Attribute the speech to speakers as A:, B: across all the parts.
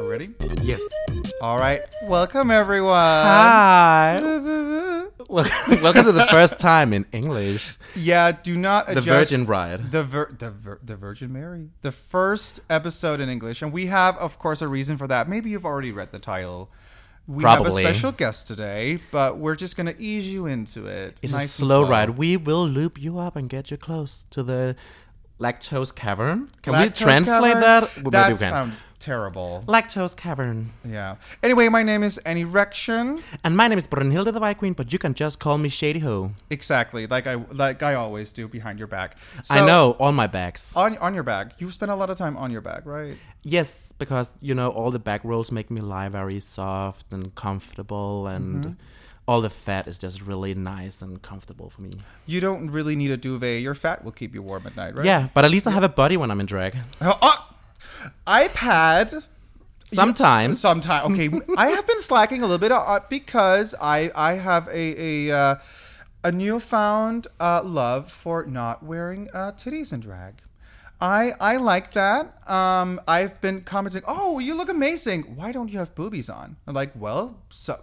A: Ready?
B: Yes.
A: All right. Welcome, everyone.
B: Hi. welcome, welcome to the first time in English.
A: Yeah, do not
B: The
A: adjust.
B: Virgin Bride.
A: The, vir- the, vir- the Virgin Mary. The first episode in English. And we have, of course, a reason for that. Maybe you've already read the title. We have a
B: Probably.
A: special guest today, but we're just going to ease you into it.
B: It's
A: Nice
B: a
A: and
B: slow, ride. We will loop you up and get you close to the lactose cavern. Can we
A: Lactose
B: translate
A: cavern?
B: that? Well,
A: that
B: Maybe we can.
A: sounds terrible.
B: lactose cavern.
A: Yeah. Anyway, my name is An Erection.
B: And my name is Brunhilde the White Queen, but you can just call me Shady Ho.
A: Exactly, like I like I always do behind your back.
B: I
A: So,
B: know all my backs.
A: on on your back. You spend a lot of time on your back, right?
B: Yes, because you know all the back rolls make me lie very soft and comfortable, and
A: Mm-hmm.
B: all the fat is just really nice and comfortable for me.
A: You don't really need a duvet. Your fat will keep you warm at night, right?
B: Yeah, but at least I have a body when I'm in drag.
A: Oh, oh! iPad.
B: Sometimes
A: Sometimes. Okay, I have been slacking a little bit uh, because I I have a a. Uh, a newfound uh, love for not wearing uh, titties in drag. I I like that. Um, I've been commenting, "Oh, you look amazing. Why don't you have boobies on?" I'm like, "Well, so,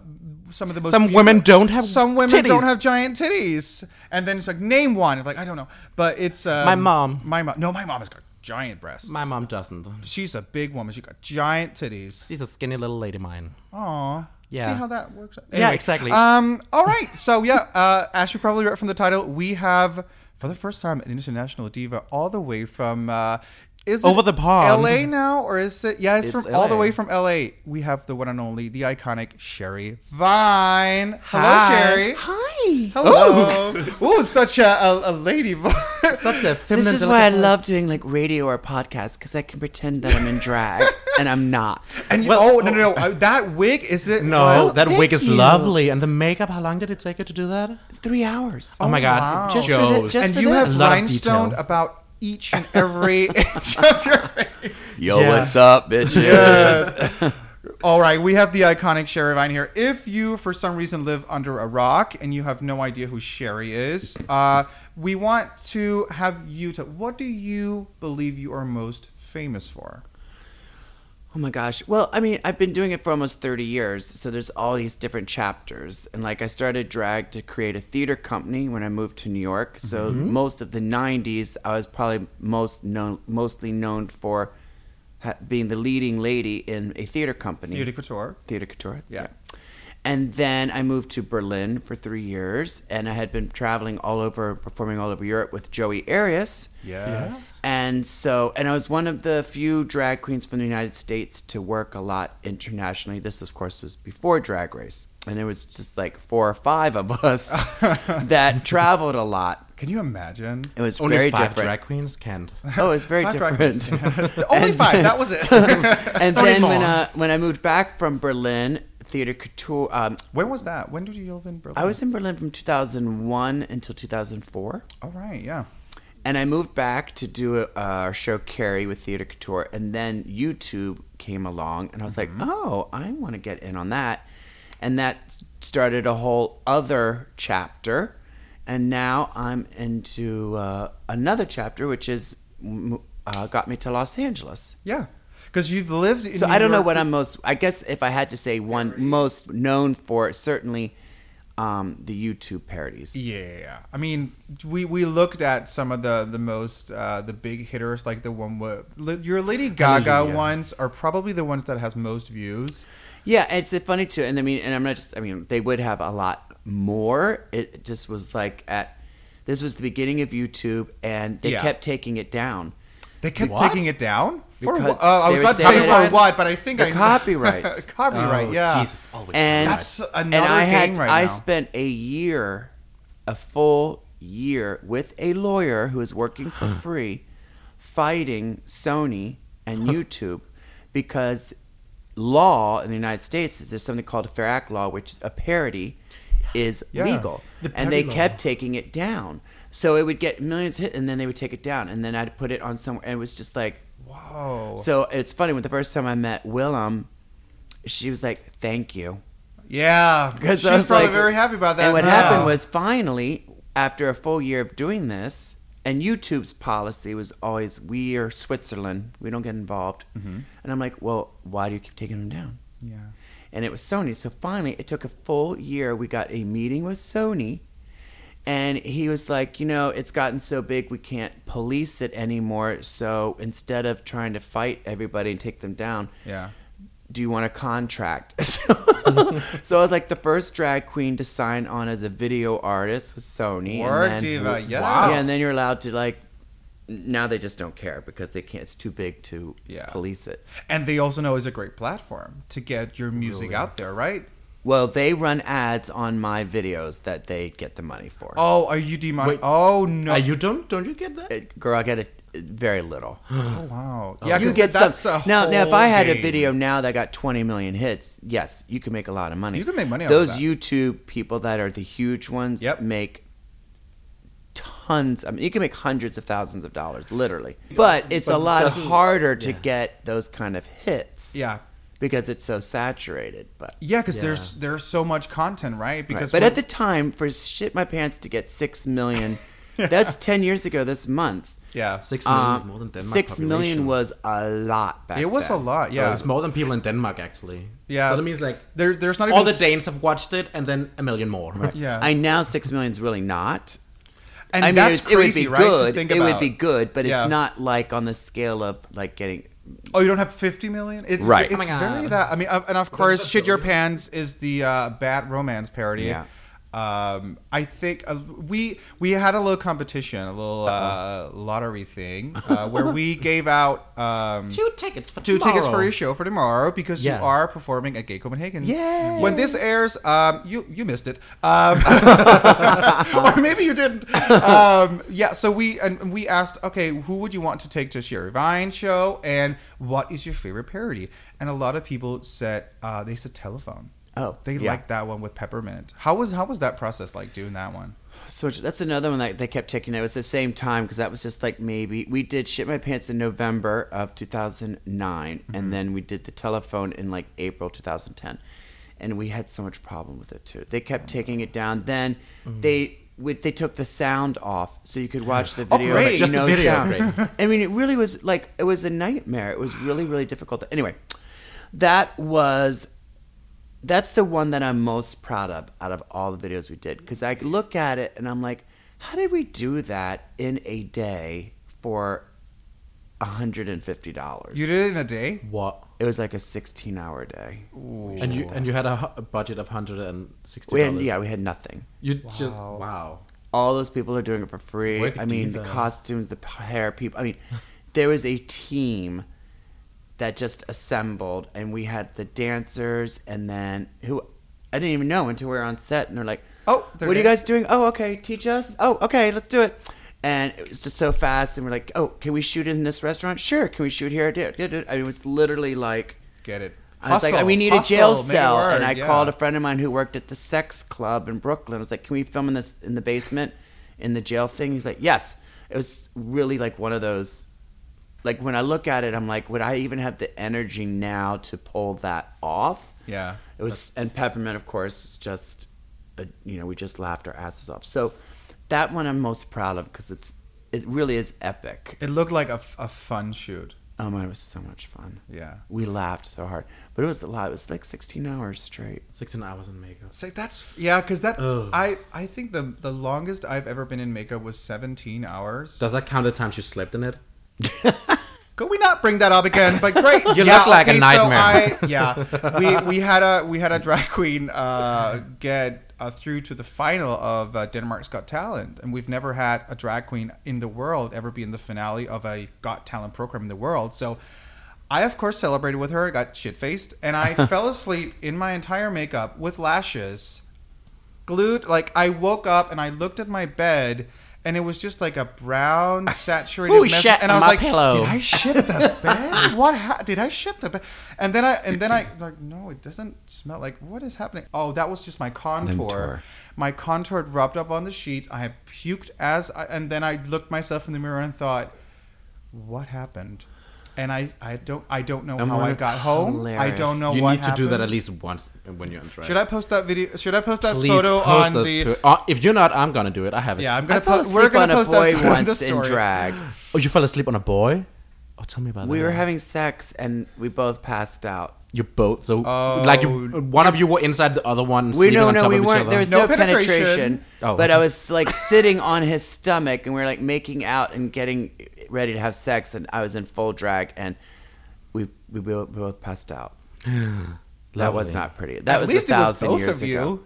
A: some of the most
B: some
A: beautiful-
B: women don't have
A: some women
B: titties.
A: don't have giant titties. And then it's like name one. It's like I don't know, but it's um,
B: My mom.
A: My mom. No, my mom has got giant breasts.
B: My mom doesn't.
A: She's a big woman. She got giant titties.
B: She's a skinny little lady mine.
A: Aw.
B: Yeah.
A: See how that works. out?
B: Yeah, exactly.
A: Um. All right. So yeah, uh, as you probably read from the title, we have for the first time an international diva all the way from. Uh, is it
B: Over the pond.
A: LA now, or is it? Yeah, it's,
B: It's
A: from all the
B: LA.
A: way from LA. We have the one and only, the iconic Sherry Vine. Hello,
B: Hi.
A: Sherry.
C: Hi.
A: Hello. Ooh, such a, a, a lady voice.
B: Such a feminine.
C: This is why I
B: delicate-
C: love doing like radio or podcasts because I can pretend that I'm in drag and I'm not.
A: And you,
B: Well-
A: oh no no no! uh, That wig is it?
B: No,
A: well,
B: that
C: thank
B: wig is
C: you.
B: lovely, and the makeup. How long did it take you to do that?
C: Three hours.
B: Oh, my god,
A: wow.
B: it
A: Just
C: for the-
B: shows.
C: just
A: and
C: for
A: you
C: this.
A: have
B: A lot of detail.
A: rhinestone about each and every inch of your face.
C: Yo,
B: Yeah. what's
C: up, bitches?
A: All right, we have the iconic Sherry Vine here. If you, for some reason, live under a rock and you have no idea who Sherry is, uh, we want to have you to. What do you believe you are most famous for?
C: Oh my gosh. Well, I mean, I've been doing it for almost 30 years, so there's all these different chapters. And like I started drag to create a theater company when I moved to New York. So most of the 90s, I was probably most known mostly known for ha- being the leading lady in a theater company.
A: Beauty couture.
C: Theater Couture.
A: Yeah.
C: And then I moved to Berlin for three years, and I had been traveling all over, performing all over Europe with Joey Arias.
A: Yes.
C: And so, and I was one of the few drag queens from the United States to work a lot internationally. This, of course, was before Drag Race. And it was just like four or five of us that traveled a lot.
A: Can you imagine?
C: It was
B: Only
C: very
B: five
C: different.
B: drag queens can't.
C: Oh, it's very
A: Five drag
C: different.
A: queens. Only five. That was it.
C: and
A: Not
C: then
A: anymore.
C: when, uh, when I moved back from Berlin, Theater Couture, um,
A: when was that? When did you live in Berlin?
C: I was in Berlin from 2001 until 2004.
A: All right. Yeah.
C: And I moved back to do a, our show Carrie with Theater Couture. And then YouTube came along, and I was
A: Mm-hmm.
C: like, oh, I want to get in on that. And that started a whole other chapter. And now I'm into uh, another chapter, which is mm, uh, got me to Los Angeles.
A: Yeah. Because you've lived in
C: So
A: New
C: I don't know
A: York
C: what I'm most. I guess if I had to say one most known for, certainly um, the YouTube parodies.
A: Yeah, I mean, we we looked at some of the the most uh, the big hitters, like the one with li- your Lady Gaga
B: Hallelujah.
A: ones are probably the ones that has most views.
C: Yeah, it's funny too, and I mean, and I'm not just. I mean, they would have a lot more. It just was like at this was the beginning of YouTube, and they
A: Yeah.
C: kept taking it down.
A: They kept
B: What?
A: taking it down for
C: Because
A: what? Uh, I
C: they
A: was
C: were
A: about to
C: saying
A: say for
C: that-
A: what, but I think
C: the
A: I
C: copyrights. Oh,
A: copyright, yeah.
B: Oh, Jesus, always.
C: And
A: That's
C: and
A: another
C: I
A: game
C: had
A: right
C: I
A: now.
C: spent a year, a full year with a lawyer who is working for free, fighting Sony and YouTube because law in the United States is there's something called a Fair Act law, which is a parody is
A: Yeah.
C: legal,
B: The
C: and they
B: parody law.
C: kept taking it down. So it would get millions hit, and then they would take it down, and then I'd put it on somewhere, and it was just like.
A: Whoa.
C: So it's funny when the first time I met Willem, she was like, "Thank you."
A: Yeah.
C: Because
A: She's
C: I was
A: probably
C: like-
A: very happy about that.
C: And what
A: now.
C: happened was finally, after a full year of doing this, and YouTube's policy was always, we are Switzerland. We don't get involved.
A: Mm-hmm.
C: And I'm like, well, why do you keep taking them down?
A: Yeah.
C: And it was Sony. So finally, it took a full year. We got a meeting with Sony. And he was like, you know, it's gotten so big, we can't police it anymore. So instead of trying to fight everybody and take them down,
A: Yeah.
C: do you want a contract? so, so I was like the first drag queen to sign on as a video artist with Sony.
A: Word
C: and then,
A: diva, yes.
C: Yeah, and then you're allowed to like. Now they just don't care because they can't. It's too big to
A: Yeah.
C: police it.
A: And they also know it's a great platform to get your music out there, right?
C: Well, they run ads on my videos that they get the money for.
A: Oh, are you demon?
B: Wait.
A: oh no!
B: Uh, you don't don't you get that?
C: Uh, Girl, I get a, very little.
A: oh wow! Yeah,
C: you
A: 'cause
C: get
A: that's
C: some.
A: a
C: now, now, if
A: whole
C: I had a
A: game.
C: video now that got 20 million hits, yes, you can make a lot of money.
A: You can make money off of
C: Those
A: that.
C: YouTube people that are the huge ones
A: Yep.
C: make tons. I mean, you can make hundreds of thousands of dollars, literally. But it's a
B: But
C: lot
B: doesn't-
C: harder to
B: yeah.
C: get those kind of hits.
A: yeah,
C: Because it's so saturated, but
A: yeah, because
B: Yeah.
A: there's there's so much content, right?
C: Right.
A: Because
C: But
A: when-
C: at the time, for shit my pants to get six million, that's ten years ago this month.
A: yeah,
B: Six million is
C: Um,
B: more than Denmark.
C: six million
B: population.
C: was a lot back
A: it was a
C: then.
A: lot.
B: Well,
A: Yeah,
B: it's Oh, more than people in Denmark actually.
A: Yeah.
B: so that means like
A: there there's not even
B: all the
A: s-
B: Danes have watched it, and then a million more.
A: Yeah,
C: I now six million's really not.
A: and
C: I mean,
A: that's
C: it,
A: crazy,
C: it would be
A: right?
C: good.
A: To think
C: it
A: about.
C: would be good, but
A: Yeah.
C: it's not like on the scale of like getting.
A: Oh, you don't have 50 million? It's
C: Right.
A: It's
B: Oh my God.
A: very that. I mean, uh, and of course,
B: that's
A: shit your
B: so-
A: pants is the uh, bad romance parody.
C: Yeah.
A: Um, I think uh, we we had a little competition, a little uh, lottery thing, uh, where we gave out um,
B: Two tickets for
A: two tickets for
B: tomorrow.
A: your show for tomorrow because
B: Yeah.
A: you are performing at Gay Copenhagen.
C: Yay.
A: When this airs, um, you you missed it, um, or maybe you didn't. Um, yeah. So we and we asked, okay, who would you want to take to Sherry Vine show, and what is your favorite parody? And a lot of people said uh, they said telephone.
C: Oh,
A: they
C: yeah.
A: liked that one with peppermint. How was how was that process like doing that one?
C: So much- that's another one that they kept taking. It was the same time because that was just like maybe we did shit my pants in November of two and then we did the telephone in like April two thousand ten, and we had so much problem with it too. They kept taking it down. Then they would they took the sound off so you could watch the video.
A: great.
C: with
A: Just
B: the
C: no
B: video.
C: sound. I mean, it really was like it was a nightmare. It was really really difficult. Anyway, that was that's the one that I'm most proud of out of all the videos we did because I look at it and I'm like, how did we do that in a day for hundred and fifty dollars?
A: You did it in a day.
B: What?
C: It was like a sixteen hour day.
B: And you and you had a, hu- a budget of hundred and sixty
C: We had,
B: dollars.
C: yeah, we had nothing.
B: You just wow.
C: All those people are doing it for free.
B: What a
C: I mean, the
B: diva.
C: costumes, the hair, people. I mean, there was a team that just assembled, and we had the dancers, and then who I didn't even know until we were on set, and they're like,
A: Oh,
C: what
A: there
C: are
A: it
C: you
A: is.
C: guys doing? Oh, okay, teach us. Oh, okay, let's do it." And it was just so fast, and we're like, "Oh, can we shoot in this restaurant? Sure. Can we shoot here? Do it, do it, do it." I mean, it was literally like."
A: Get it.
C: I was like,
A: Hustle,
C: we need a jail
A: hustle, make it
C: cell.
A: work,
C: And I
A: yeah.
C: called a friend of mine who worked at the sex club in Brooklyn. I was like, can we film in this in the basement in the jail thing? He's like, yes. It was really like one of those. Like when I look at it, I'm like, would I even have the energy now to pull that off?
A: Yeah.
C: It was, and peppermint, of course, was just, a, you know, we just laughed our asses off. So that one I'm most proud of because it's, it really is epic.
A: It looked like a, f- a fun shoot.
C: Oh my, it was so much fun.
A: Yeah.
C: We laughed so hard, but it was a lot. It was like 16 hours straight.
B: Sixteen hours in makeup.
A: Say that's yeah, because that
B: Ugh.
A: I I think the the longest I've ever been in makeup was seventeen hours.
B: Does that count the times you slept in it?
A: Could we not bring that up again? But great,
B: You look like a nightmare.
A: So I, yeah, we we had a we had a drag queen uh, get uh, through to the final of uh, Denmark's Got Talent, and we've never had a drag queen in the world ever be in the finale of a Got Talent program in the world. So. I of course celebrated with her. I got shit faced, and I fell asleep in my entire makeup with lashes glued like i woke up and i looked at my bed and it was just like a brown saturated
B: Ooh,
A: mess
B: shit
A: and i
B: on
A: was
B: my
A: like
B: pillow.
A: did i shit the bed what ha- did i shit the bed and then i and then i like no it doesn't smell like what is happening oh that was just my contour
C: Contour.
A: my contour had rubbed up on the sheets i had puked as I, and then i looked myself in the mirror and thought what happened and I I don't I don't know
C: And
A: how
C: what
A: I
C: if-
A: got home. I
C: hilarious.
A: don't know
D: you
A: what
D: need to do that
A: happened.
D: at least once when you're on track.
A: Should I post that video? Should I post that
B: Please
A: photo
B: post
A: on
B: the.
A: the?
B: pi- uh, if you're not, I'm gonna do it. I have it.
A: yeah, I'm
C: I
A: gonna
C: fell
A: post.
C: asleep
A: We're gonna
C: on
A: post
C: a boy
A: that in the
C: once in
A: story.
C: drag.
B: Oh, you fell asleep on a boy. Oh, tell me about that.
C: We were having sex and we both passed out.
B: you both. So like you, one of you were inside the other one.
C: We
B: sleeping
C: no
B: on
C: no
B: top
C: we
B: of each
C: weren't.
B: other.
C: There was
A: Oh, No
C: no, penetration.
A: penetration.
B: Oh.
C: But I was like sitting on his stomach, and we were like making out and getting ready to have sex, and I was in full drag, and we we both, we both passed out. that was
B: Lovely.
C: not pretty. That
A: At
C: was
A: least
C: a
A: it was
C: thousand
A: both
C: years
A: of you.
C: ago.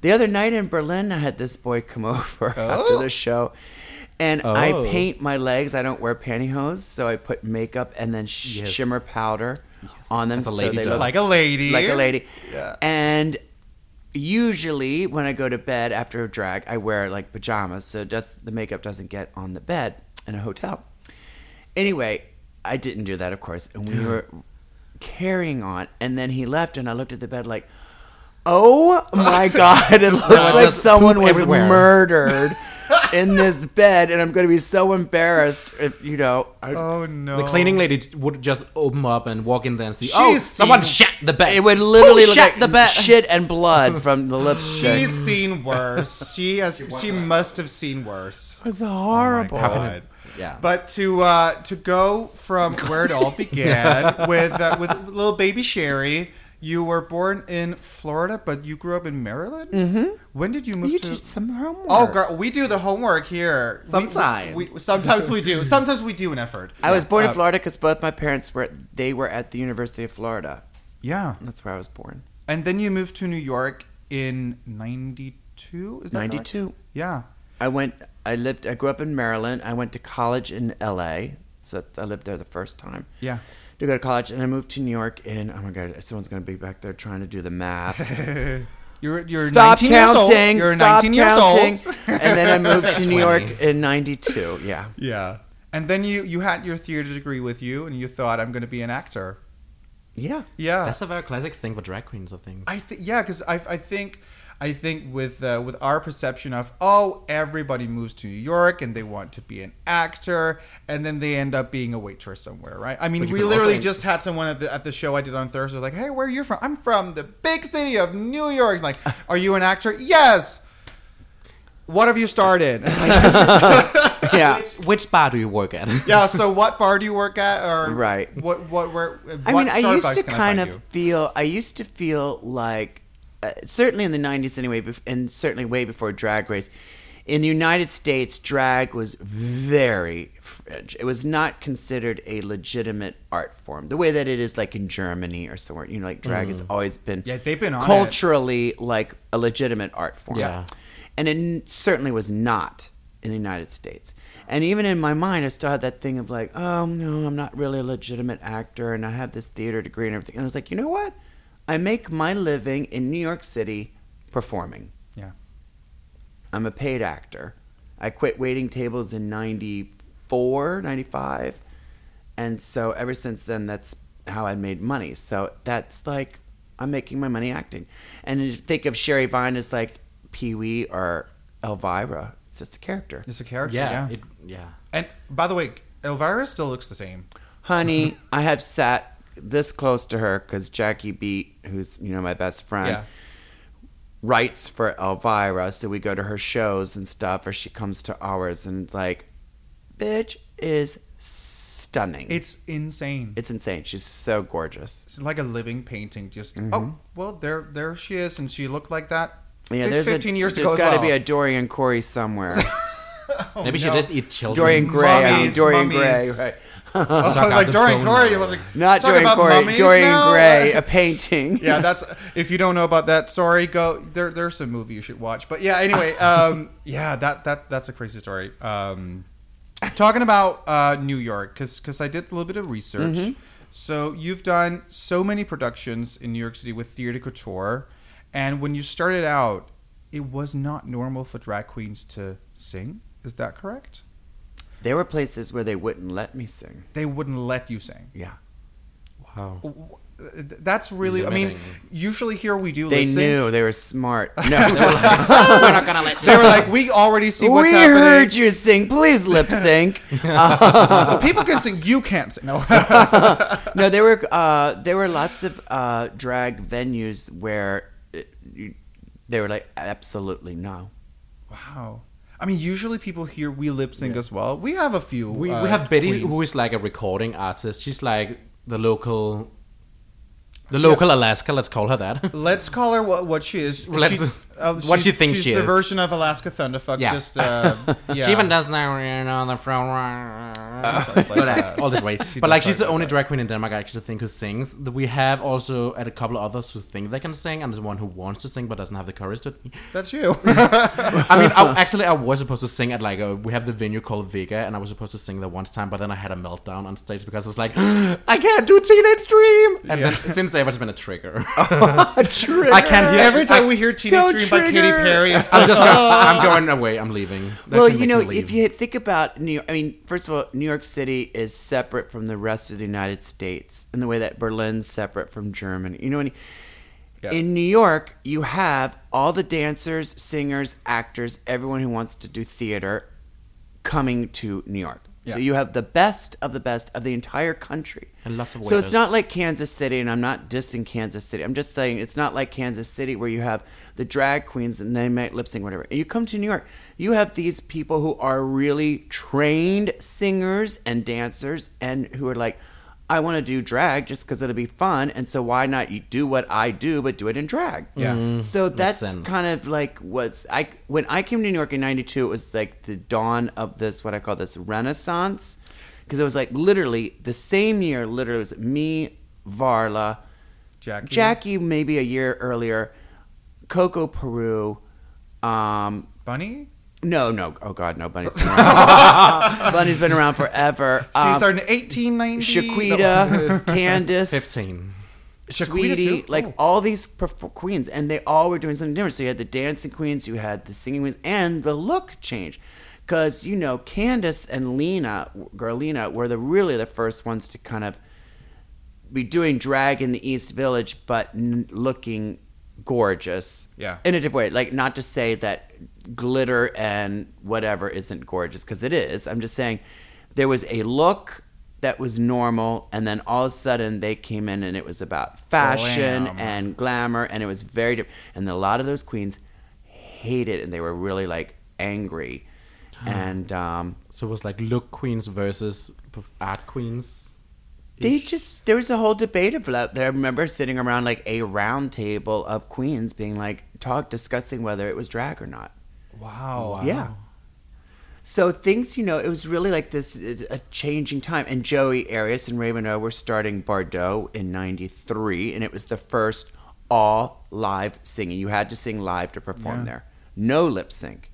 C: The other night in Berlin, I had this boy come over after the show, and I
B: Oh.
C: paint my legs. I don't wear pantyhose, so I put makeup and then sh-
B: Yes.
C: shimmer powder on them,
B: As a
C: so
B: lady
C: they
B: does.
C: look
A: Like a lady.
C: like a lady.
A: Yeah.
C: And usually when I go to bed after a drag, I wear like pajamas, so it does the makeup doesn't get on the bed in a hotel. Anyway, I didn't do that, of course, and we were carrying on, and then he left, and I looked at the bed like. Oh my god, it looks
B: it's
C: like
B: just
C: someone
B: poop
C: was
B: everywhere.
C: murdered in this bed and I'm going to be so embarrassed if you know. I-
A: Oh no!
B: The cleaning lady would just open up and walk in there and see.
A: She's
B: oh,
A: seen-
B: someone shat the bed.
C: It would literally
B: Who
C: look
B: shat
C: like
B: the bed.
C: shit and blood from the lipstick.
A: She's seen worse. She has. she must have seen worse.
C: was
A: Oh
C: horrible.
A: my God.
B: Yeah.
A: But to uh, to go from where it all began with uh, with little baby Sherry, you were born in Florida, but you grew up in Maryland. Mm-hmm. When did you move
C: you
A: to?
C: did some homework.
A: Oh, girl, we do the homework here. We-
C: Sometime.
A: we, we- sometimes we do. Sometimes we do an effort.
C: I was born
A: Uh,
C: in Florida because both my parents were they were at the University of Florida.
A: Yeah,
C: That's where I was born.
A: and then you moved to New York in '92. Is that correct?
C: Ninety two.
A: Yeah.
C: I went. I lived. I grew up in Maryland. I went to college in L.A. So I lived there the first time.
A: Yeah.
C: To go to college, and I moved to New York. in oh my god, someone's gonna be back there trying to do the math.
A: You're, you're
C: Stop
A: 19 Years old.
C: counting.
A: You're
C: stop
A: 19
C: counting.
A: years old.
C: and then I moved to New York in '92. Yeah.
A: Yeah. And then you you had your theater degree with you, and you thought I'm going to be an actor.
C: Yeah.
A: Yeah.
B: That's a very classic thing for drag queens, I think.
A: I think yeah, because I I think I think with uh, with our perception of oh everybody moves to New York and they want to be an actor and then they end up being a waitress somewhere, right? I mean,
B: But you
A: we
B: can
A: literally
B: also-
A: just had someone at the at the show I did on Thursday like, hey, where are you from? I'm from the big city of New York. Like, are you an actor? Yes. What have you started?
C: Yeah.
B: Which bar do you work at?
A: yeah. So, what bar do you work at? Or
C: Right.
A: What what where? What
C: I mean, I used
A: Starbucks
C: to
A: can
C: kind
A: find
C: of
A: you?
C: feel. I used to feel like, uh, certainly in the '90s, anyway, bef- and certainly way before Drag Race, in the United States, drag was very fringe. It was not considered a legitimate art form, the way that it is, like in Germany or somewhere. You know, like drag has always been,
A: Mm. Yeah, they've been on it.
C: culturally like a legitimate art form.
B: Yeah.
C: and it n- certainly was not in the United States. And even in my mind, I still had that thing of like, oh no, I'm not really a legitimate actor, and I have this theater degree and everything. And I was like, you know what? I make my living in New York City performing.
A: Yeah.
C: I'm a paid actor. I quit waiting tables in 94, 95. And so ever since then, that's how I made money. So that's like, I'm making my money acting. And if you think of Sherry Vine as like Pee Wee or Elvira. It's just a character.
A: It's a character.
B: yeah.
A: Yeah.
B: It, yeah.
A: and by the way, Elvira still looks the same.
C: Honey, I have sat this close to her because Jackie Beat, who's, you know, my best friend,
A: Yeah.
C: writes for Elvira, so we go to her shows and stuff, or she comes to ours, and it's like, bitch is stunning. It's,
A: It's insane.
C: it's insane. She's so gorgeous.
A: It's like a living painting. Just
C: Mm-hmm.
A: oh well, there there she is, and she looked like that.
C: Yeah,
A: fif-
C: there's
A: fifteen
C: a,
A: years
C: there's
A: ago.
C: got to
A: as well.
C: be a Dorian Corey somewhere.
A: Oh,
B: Maybe she
A: no.
B: just eat children.
C: Dorian Gray, I mean,
A: Mummies,
C: Dorian
A: mummies.
C: Gray,
A: Oh,
C: right?
A: I was
B: suck out
A: like
B: the
A: Dorian
B: bone
A: Corey.
B: marrow.
A: I was like
C: Not
A: talking
C: Dorian
A: about
C: Corey,
A: mummies
C: Dorian
A: now?
C: Gray, a painting.
A: yeah, that's if you don't know about that story, go there. There's a movie you should watch. But yeah, anyway, um, yeah, that that that's a crazy story. Um, talking about uh, New York, because I did a little bit of research. So you've done so many productions in New York City with Theater Couture, and when you started out, it was not normal for drag queens to sing. Is that correct?
C: There were places where they wouldn't let me sing.
A: They wouldn't let you sing.
C: Yeah.
B: Wow.
A: W- that's really. I mean,
D: Limiting.
A: usually here we do.
C: They
A: lip sync.
C: knew they were smart. No, they were like,
D: We're not gonna let.
A: They were like, we already see what's
C: we
A: happening.
C: heard you sing. Please lip sync.
A: Well, people can sing. You can't sing. No.
C: no, there were uh, there were lots of uh, drag venues where it, you, they were like, absolutely no.
A: wow. I mean, usually people hear we lip sync as well. We have a few.
B: We,
A: uh,
B: we have Betty,
A: queens.
B: who is like a recording artist. She's like the local, the local Alaska. Let's call her that.
A: Let's call her what, what she is.
B: Let's-
A: She's- uh,
B: what she
A: she's-
B: thinks
A: she's
B: she
A: the
B: is.
A: version of Alaska Thunderfuck.
B: Yeah.
A: Just uh, yeah.
B: She even does now you know the front.
A: Stuff like
B: So that-
A: that.
B: Uh, all the way.
A: She
B: but
A: does
B: like she's
A: talk
B: the only drag queen in Denmark I actually think who sings. Th- We have also had a couple of others who think they can sing, and there's one who wants to sing but doesn't have the courage to.
A: That's you.
B: I mean, I, actually, I was supposed to sing at like a, we have the venue called Vega, and I was supposed to sing there once time, but then I had a meltdown on stage because I was like, I can't do Teenage Dream, and then since then it's been a trigger. I can't hear
A: Every time
B: I-
A: we hear Teenage Dream by Katy
C: trigger.
A: Perry, it's
B: I'm just going, I'm going away. I'm leaving. That
C: well,
B: kinda
C: you
B: makes
C: know,
B: me leave.
C: if you think about New York, I mean, first of all, New York City is separate from the rest of the United States in the way that Berlin's separate from Germany. You know, when you-
A: Yeah.
C: in New York, you have all the dancers, singers, actors, everyone who wants to do theater coming to New York.
A: Yeah.
C: So you have the best of the best of the entire country.
B: And lots of
C: So
B: waiters.
C: it's not like Kansas City, and I'm not dissing Kansas City. I'm just saying it's not like Kansas City where you have the drag queens and they might lip sync whatever. And you come to New York, you have these people who are really trained singers and dancers, and who are like, I want to do drag just because it'll be fun, and so why not you do what I do but do it in drag?
A: Yeah. Mm,
C: So that's
B: sense.
C: kind of like what's I when I came to New York in '92, it was like the dawn of this what I call this renaissance because it was like literally the same year. Literally, it was me, Varla,
A: Jackie.
C: Jackie maybe a year earlier, Coco Peru. Um,
A: Bunny.
C: no, no, oh God, no, Bunny's been around. Bunny's been around forever. Um,
A: She's starting 1890.
C: Shaquita, Candace,
B: fifteen.
C: Sweetie,
A: too?
C: like
A: Oh.
C: all these perf- queens, and they all were doing something different. So you had the dancing queens, you had the singing queens, and the look change. Because, you know, Candace and Lena, Garlina, were the really the first ones to kind of be doing drag in the East Village, but n- looking gorgeous.
A: Yeah.
C: In a different way. Like, not to say that glitter and whatever isn't gorgeous, because it is. I'm just saying there was a look that was normal, and then all of a sudden they came in and it was about fashion
A: Glam.
C: and glamour, and it was very different. And a lot of those queens hated it, and they were really like angry. And, um,.
B: So it was like look queens versus perf- art queens.
C: They just there was a whole debate about that. I remember sitting around like a round table of queens being like talk discussing whether it was drag or not.
A: Wow.
C: Yeah. So things, you know, it was really like this uh, a changing time. And Joey Arias and Raven O were starting Bardot in '93, and it was the first all live singing. You had to sing live to perform there, no lip sync.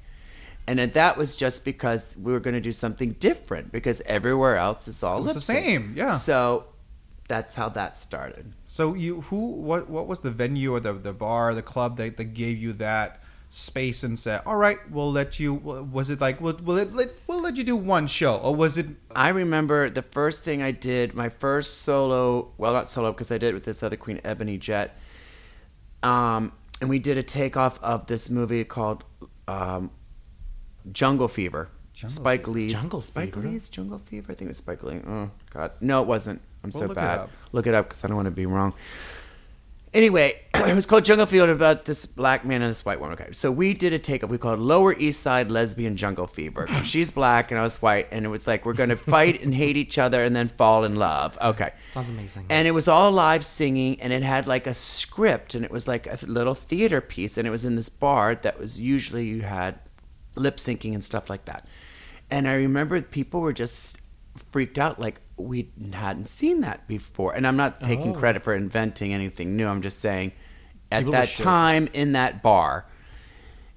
C: And then that was just because we were going to do something different because everywhere else is all
A: It's
C: lip
A: the
C: sync.
A: same, yeah.
C: So that's how that started.
A: So you who what what was the venue or the the bar the club that, that gave you that space and said all right we'll let you was it like we'll we'll let, let- we'll let you do one show or was it
C: I remember the first thing I did, my first solo, well, not solo, because I did it with this other queen, Ebony Jet. Um, and we did a takeoff of this movie called um, Jungle Fever.
A: Jungle
C: Spike Lee's
B: Jungle
C: Spike
B: Fever?
C: Lee's Jungle Fever. I think it was Spike Lee. Oh God, no, it wasn't. I'm
A: Well,
C: so
A: look it
C: bad.
A: up.
C: look it up because I don't want to be wrong. Anyway, it was called Jungle Fever about this black man and this white woman. Okay, so we did a takeoff. We called Lower East Side Lesbian Jungle Fever. She's black and I was white, and it was like we're going to fight and hate each other and then fall in love. Okay,
B: Sounds amazing.
C: And it was all live singing, and it had like a script, and it was like a little theater piece, and it was in this bar that was usually you had lip syncing and stuff like that. And I remember people were just freaked out, like we hadn't seen that before. And I'm not taking
B: Oh.
C: credit for inventing anything new. I'm just saying, at
B: People were
C: that
B: shook.
C: time in that bar,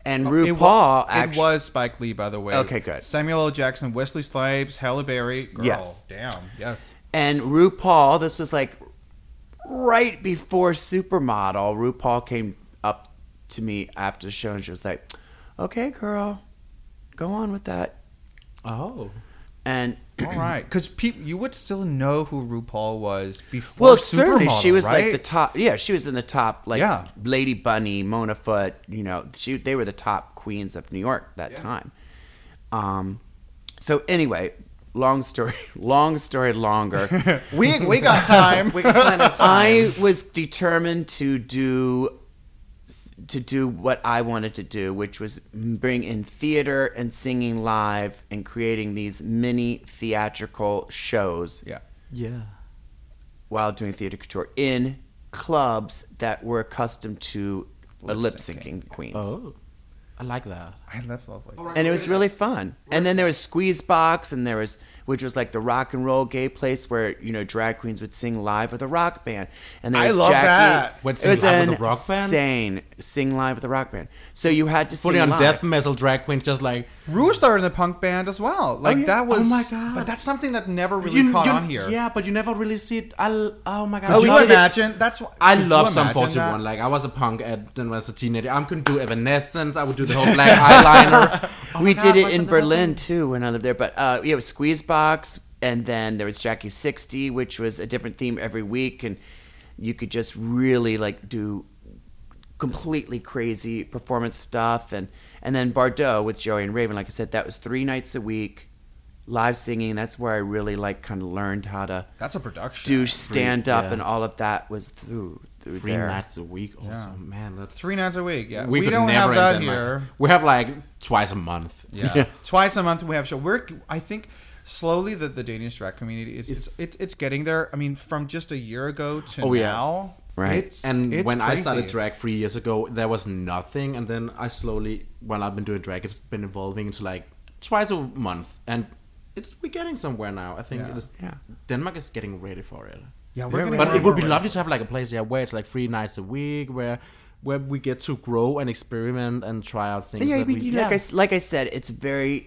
C: and
A: Uh, it
C: RuPaul
A: wa- it
C: actually.
A: was Spike Lee by the way
C: Okay, good.
A: Samuel L Jackson Wesley Snipes Halle Berry girl
C: Yes.
A: damn yes
C: And RuPaul, this was like right before Supermodel. RuPaul came up to me after the show and she was like, okay, girl, go on with that.
B: Oh,
C: and
A: All right, because pe- you would still know who RuPaul was before.
C: well, certainly
A: Supermodel,
C: she was
A: right?
C: like the top. Yeah, she was in the top, like
A: Yeah.
C: Lady Bunny, Mona Foot. You know, she they were the top queens of New York that time. Um, so anyway, long story, long story longer.
A: We we got time.
C: We got plenty of time. I was determined to do to do what I wanted to do, which was bring in theater and singing live and creating these mini theatrical shows
A: yeah.
B: Yeah.
C: while doing theater couture in clubs that were accustomed to lip
A: Lip-syncing.
C: syncing queens.
B: Oh, I like that.
A: I, that's lovely.
C: And it was really fun. And then there was Squeeze Box, and there was which was like the rock and roll gay place where you know drag queens would sing live with a rock band. And there
A: I
C: was
A: love
C: Jackie.
A: that.
B: What,
C: it
B: sing
C: was
B: live with a rock band?
C: insane sing live with a rock band. So you had to
B: Fully
C: sing
B: on
C: live.
B: death metal drag queens, just like
A: Rue started in the punk band as well. Like
B: yeah.
A: that was.
B: Oh my God.
A: But that's something that never really caught on here.
B: Yeah, but you never really see it. I l- oh my god.
A: Could
C: we
A: you
C: did it-
A: imagine? That's why
B: I
A: could you
B: love some
A: imagine
B: 41.
A: that?
B: Like, I was a punk at, when I was a teenager. I could do Evanescence. I would do the whole black eyeliner. Oh my
C: we
B: God,
C: did it
B: what's
C: in
B: another
C: Berlin
B: thing?
C: too when I lived there. But uh, yeah, it was Squeeze Box, and then there was Jackie Sixty, which was a different theme every week, and you could just really like do completely crazy performance stuff, and and then Bardot with Joey and Raven. Like I said, that was three nights a week, live singing. That's where I really like kind of learned how to
A: That's a production.
C: do stand up,
B: yeah.
C: and all of that was through through
B: Three
C: there.
B: nights a week. Also, man, that's
A: Three nights a week. Yeah.
B: we,
A: We,
B: could
A: don't
B: never
A: have that
B: in Denmark.
A: here.
B: We have like twice a month.
A: Yeah. Twice a month we have show. We're I think slowly the, the Danish drag community is it's, it's it's getting there. I mean, from just a year ago to
B: Oh, yeah.
A: now.
C: Right.
A: It's,
B: And
A: it's
B: when I
A: crazy.
B: started drag three years ago, there was nothing, and then I slowly, while I've been doing drag, it's been evolving into like twice a month, and it's we're getting somewhere now. I think
A: Yeah.
B: it is,
C: Yeah.
B: Denmark is getting ready for it.
A: Yeah, we're
B: Yeah,
A: getting
B: but
A: ready
B: it would be
A: for it.
B: lovely to have like a place yeah where it's like three nights a week where where we get to grow and experiment and try out things.
C: Yeah, I
B: that
C: mean,
B: we-
C: you know, like I s- like I said, it's very.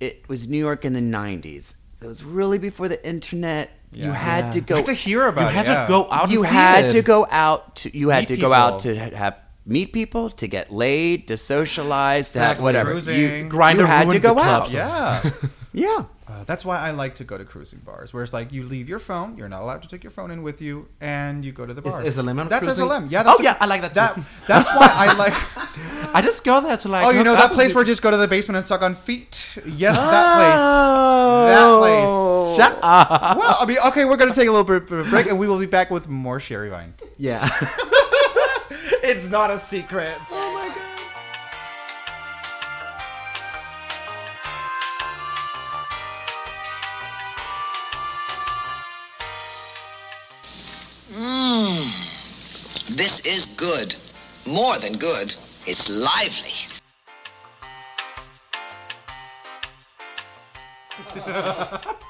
C: It was New York in the '90s. It was really before the internet. You
A: Yeah.
C: had to
A: I
C: go.
A: had to hear about
B: you
A: it.
B: had
A: yeah.
B: to go out.
C: you
B: and see
C: had
B: it.
C: to go out. To, you had
A: Meet
C: to go out to ha- have meet people, to get laid, to socialize, to have
B: Exactly.
C: whatever.
A: Cruising.
C: You,
B: Grindr
C: you had to
B: ruined
C: go
B: the
C: out.
B: clubs.
A: Yeah.
C: Yeah.
A: Uh, that's why I like to go to cruising bars, where it's like you leave your phone, you're not allowed to take your phone in with you, and you go to the
B: Is-
A: bar.
B: is SLM on
A: That's
B: cruising?
A: SLM. Yeah. That's
B: Oh, yeah, I like that too.
A: That's why I like.
B: I just go there to like.
A: Oh, you
B: hook
A: know
B: up
A: that
B: with
A: place
B: you.
A: where you just go to the basement and suck on feet? Yes, that place.
B: Ah.
A: That place.
B: Oh. Shut up.
A: Well, I mean, okay, we're gonna take a little bit of a break, and we will be back with more Sherry Vine.
B: Yeah.
A: It's not a secret.
E: This is good. More than good. It's lively.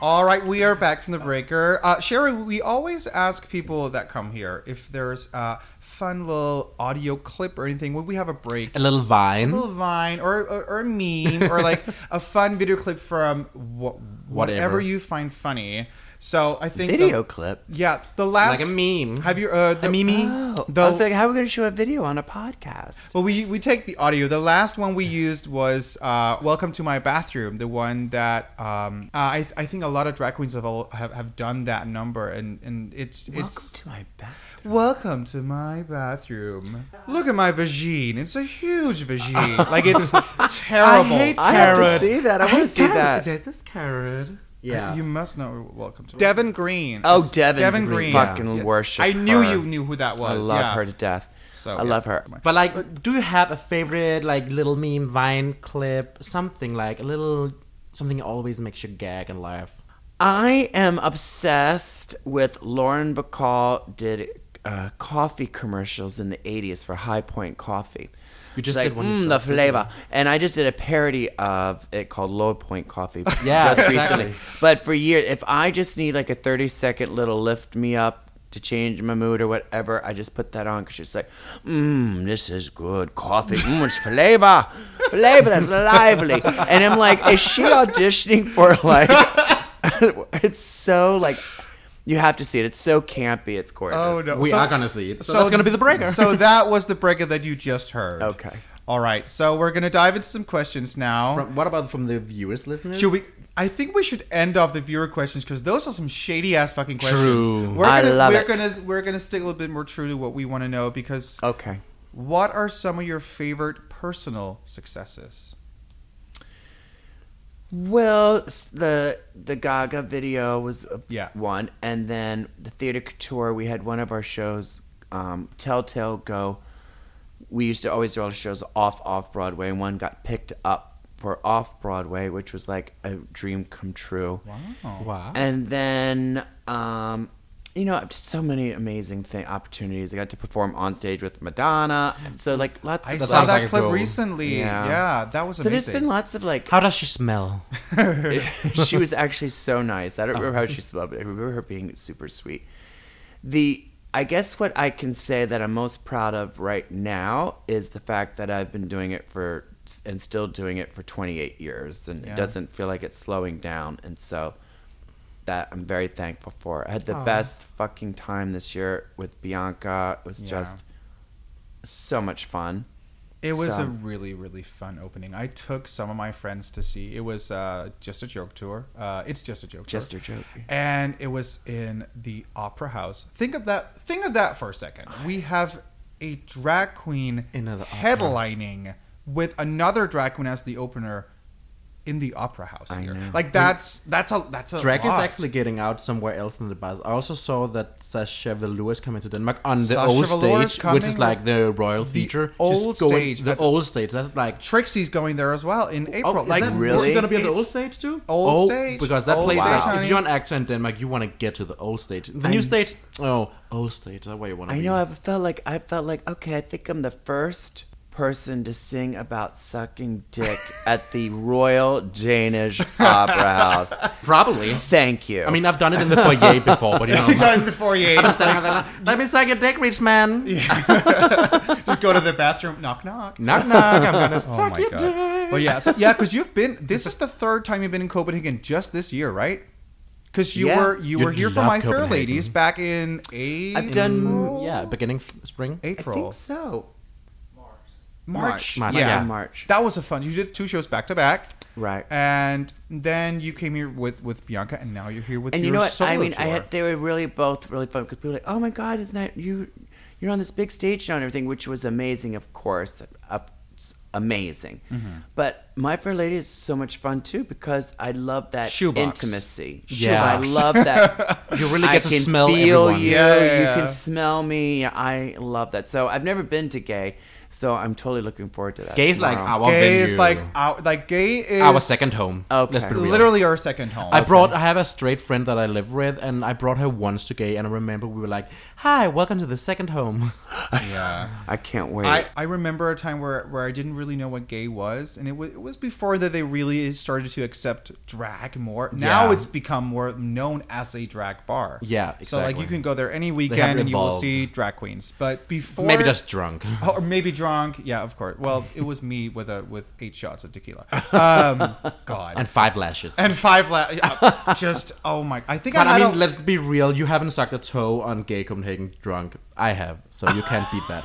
A: All right, we are back from the breaker. Uh, Sherry, we always ask people that come here if there's a fun little audio clip or anything. Would we have a break?
B: a little vine.
A: little vine or, or, or a meme or like a fun video clip from wha- whatever
B: Whatever.
A: you find funny. So I think the-
C: Video clip.
A: yeah, the last
B: Like a meme.
A: Have you uh, the
B: A meme.
C: Oh,
A: The-
C: I was like, how are we going to show a video on a podcast?
A: Well, we we take the audio. The last one we used was uh, "Welcome to My Bathroom," the one that um, uh, I I think a lot of drag queens have all, have, have done that number, and and it's
C: Welcome
A: it's
C: to my back.
A: welcome to my bathroom. Look at my vagine. It's a huge vagine. like it's terrible.
C: Oh. I have to see that. I want to see that.
B: Is this carrot? Yeah.
A: You must know. Welcome to Devin Green.
C: Oh,
A: It's
C: Devin,
A: Devin Green.
C: Fucking
A: Yeah.
C: worship.
A: I knew
C: her.
A: you knew who that was.
C: I love
A: yeah.
C: her to death.
A: So, yeah.
C: I love her.
B: But like, do you have a favorite like little meme, vine clip, something like a little something that always makes you gag and laugh?
C: I am obsessed with Lauren Bacall did uh, coffee commercials in the 80s for High Point Coffee.
B: You just
C: She's
B: did one
C: "Mm,
B: yourself,
C: the
B: didn't you?"
C: flavor, and I just did a parody of it called Low Point Coffee.
B: Yeah,
C: just
B: exactly.
C: recently. But for years, if I just need like a thirty second little lift me up to change my mood or whatever, I just put that on because she's like, "Mmm, this is good coffee. Mmm, it's flavor, flavor that's lively." And I'm like, "Is she auditioning for like?" it's so like. You have to see it. It's so campy. It's gorgeous.
A: Oh no.
B: We
A: So-
B: are gonna see it. So, that's gonna be the breaker.
A: So that was the breaker that you just heard.
C: Okay.
A: All right, so we're gonna dive into some questions now.
B: From, what about from the viewers, listeners?
A: should we? I think we should end off the viewer questions because those are some shady ass fucking questions.
B: True.
A: We're
C: I
A: gonna,
C: love
A: we're
C: it. Oh.
A: Gonna, we're gonna stick a little bit more true to what we want to know because
C: Okay.
A: what are some of your favorite personal successes?
C: Well, s- the the Gaga video was a
A: Yeah.
C: one, and then the theater couture. We had one of our shows, um, Telltale Go. We used to always do all the shows off off Broadway, and one got picked up for off Broadway, which was like a dream come true.
A: Wow.
B: Wow.
C: And then, um, you know, just so many amazing thing opportunities. I got to perform on stage with Madonna, so like lots.
A: I
C: of
A: saw
B: sounds
A: that
B: like a
A: clip
B: goal.
A: recently. Yeah.
C: Yeah.
A: that was
C: So
A: amazing.
C: there's been lots of like
B: How does she smell?
C: she was actually so nice. I don't remember
A: Uh-huh.
C: how she smelled, but I remember her being super sweet. The I guess what I can say that I'm most proud of right now is the fact that I've been doing it for and still doing it for 28 years, and
A: Yeah.
C: it doesn't feel like it's slowing down. And so that I'm very thankful for. I had the best fucking time this year with Bianca. It was
A: Yeah.
C: just so much fun.
A: It was a
C: So-
A: really, really fun opening. I took some of my friends to see. It was uh, just a joke tour. Uh, it's just a joke.
C: Just
A: tour.
C: a joke.
A: And it was in the Opera House. Think of that. Think of that for a second. We have a drag queen
B: In the opera.
A: headlining with another drag queen as the opener in the Opera House
C: I
A: here.
C: know.
A: Like that's that's a that's a
B: Drag is
A: lot.
B: actually getting out somewhere else than the bus. I also saw that Sasha Velour is coming to Denmark on the
A: Sasha
B: old
A: Velour is
B: stage, which
A: coming
B: is like the royal
A: the
B: theater. She's
A: old
B: going-
A: stage
B: the
A: at the-
B: old stage. That's like
A: Trixie's going there as well in April.
B: is
A: like
B: that
C: Oh, really?
B: gonna be at the
A: it's-
B: old stage too? Oh,
A: Old stage.
B: because that
A: Old
B: place.
A: stage,
B: like,
A: honey.
B: if you're an actor in Denmark, you want to get to the old stage. The new stage, oh, old stage. That's where you want to.
C: I
B: be.
C: know. I felt like I felt like okay. I think I'm the first person to sing about sucking dick at the Royal Danish Opera House.
B: Probably.
C: Thank you.
B: I mean, I've done it in the foyer before, but you know,
C: Uh-huh.
A: done before you.
B: I'm standing there like, let me suck your dick, rich man.
A: Just go to the bathroom. Knock knock.
B: Knock knock. I'm gonna
A: Oh
B: suck
A: my
B: your
A: God.
B: dick.
A: Well, yeah, so, yeah, because you've been. This is the third time you've been in Copenhagen just this year, right? Because you
C: Yeah.
A: were you
B: You'd
A: were here for
B: love
A: My Fair
B: Copenhagen.
A: Ladies back in April.
C: I've done-
B: Yeah, beginning f- spring.
C: I
A: April,
C: think so.
A: March.
B: March,
A: Yeah.
B: yeah.
C: March.
A: That was a fun. You did two shows back to back,
C: Right.
A: and then you came here with with Bianca, and now you're here with
C: and
A: your
C: you know what?
A: solo
C: I mean, I
A: tour.
C: had, they were really both really fun because people were like, "Oh my God, isn't that you? You're on this big stage now and everything," which was amazing, of course, up, amazing.
A: Mm-hmm.
C: But My Fair Lady is so much fun too because I love that
A: Shoebox.
C: intimacy.
B: Yeah.
C: I love that.
B: You really
C: I
B: get to
C: can
B: smell
C: feel
B: everyone.
C: you.
A: Yeah, yeah,
C: you
A: yeah.
C: can smell me. I love that. So I've never been to gay, so I'm totally looking forward to that.
B: Gay's like
C: tomorrow.
B: our
A: gay
B: venue.
A: is like our like gay is
B: our second home.
C: Okay.
B: Let's be real.
A: literally our second home.
B: I brought. I have a straight friend that I live with, and I brought her once to gay. And I remember we were like, "Hi, welcome to the second home."
A: yeah.
C: I can't wait.
A: I, I remember a time where, where I didn't really know what gay was, and it, w- it was before that they really started to accept drag more. Now
B: Yeah.
A: it's become more known as a drag bar.
B: Yeah,
A: So like you
B: exactly.
A: can go there any weekend and you will
B: evolved.
A: see drag queens. But before
B: Maybe just drunk.
A: Oh, or maybe drunk. Yeah, of course. Well, it was me with a with eight shots of tequila. Um, God.
B: And
A: And,
B: five lashes.
A: five la- yeah, just oh my I think
B: but
A: I,
B: I
A: had
B: mean,
A: a-
B: let's be real. You haven't sucked a toe on gay Copenhagen drunk. I have, so you can't beat that.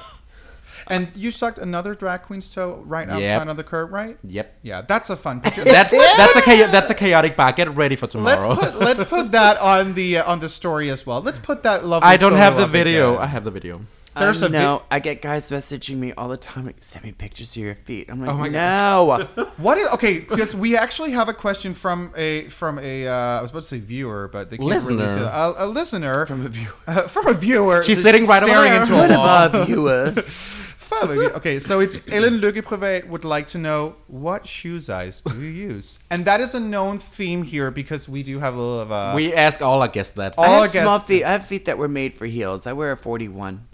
A: and you sucked another drag queen's toe right
B: Yep.
A: outside of the curb, right?
B: Yep.
A: Yeah, that's a fun picture.
B: That, that's a cha- that's a chaotic bar. Get ready for
A: Let's
B: tomorrow.
A: put let's put that on the uh, on the story as well. Let's put that lovely.
B: I don't have
A: photo
B: the
A: up again.
B: video. I have the video.
A: There's a
C: I
A: vi-
C: know. Um, I get guys messaging me all the time. Like, Send me pictures of your feet. I'm like,
A: Oh my
C: no.
A: What is okay? Because we actually have a question from a from a uh, I was about to say viewer, but they can't
B: Listener.
A: release it. A, a listener from a viewer from a viewer.
B: She's
A: that's
B: sitting right over
A: staring
B: there.
A: into
C: One
A: a
C: of
A: wall.
C: our viewers.
A: From a view- okay, so it's Ellen Lugeprivet would like to know what shoe size do you use, and that is a known theme here because we do have a little of a
B: We ask all our guests that.
A: All-
C: I
A: Oh, I
C: have small
A: guess-
C: feet. I have feet that were made for heels. I wear a 41.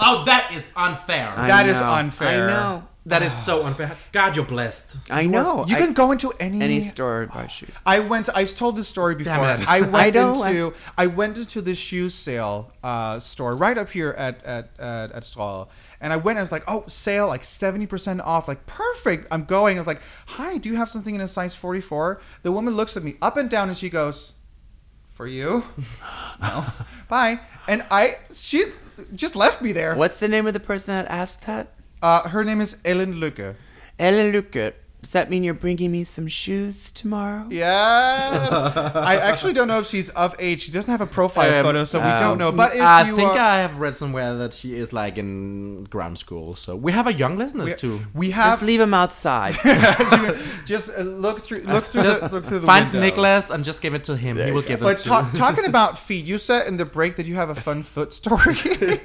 B: oh, that is unfair.
C: I
A: That is
C: know.
A: unfair.
C: I know.
B: that is so unfair. God, you're blessed.
C: I know.
A: You
C: I-
A: can go into any
C: any store and buy shoes.
A: I went. I've told this story before.
B: Damn it.
A: I went
C: I know,
A: into. I, went into the shoe sale uh, store right up here at at at, at Strahl, and I went. I was like, oh, sale, like seventy percent off, like perfect. I'm going. I was like, hi, do you have something in a size forty four? The woman looks at me up and down, and she goes, for you, no, bye. And I, she just left me there.
C: What's the name of the person that asked that?
A: Uh, her name is Ellen Lucke.
C: Ella Luca, does that mean you're bringing me some shoes tomorrow?
A: Yes. I actually don't know if she's of age. She doesn't have a profile
B: Um,
A: photo, so we don't know. But if
B: I
A: you
B: think
A: are,
B: I have read somewhere that she is like in ground school. So we have a young listeners too.
A: we
C: Just
A: have
C: leave them outside.
A: just uh, look through look through the, look through the
B: Find
A: windows.
B: Nicholas and just give it to him. he will give it
A: But
B: to
A: ta- talking about feet, you said in the break that you have a fun foot story.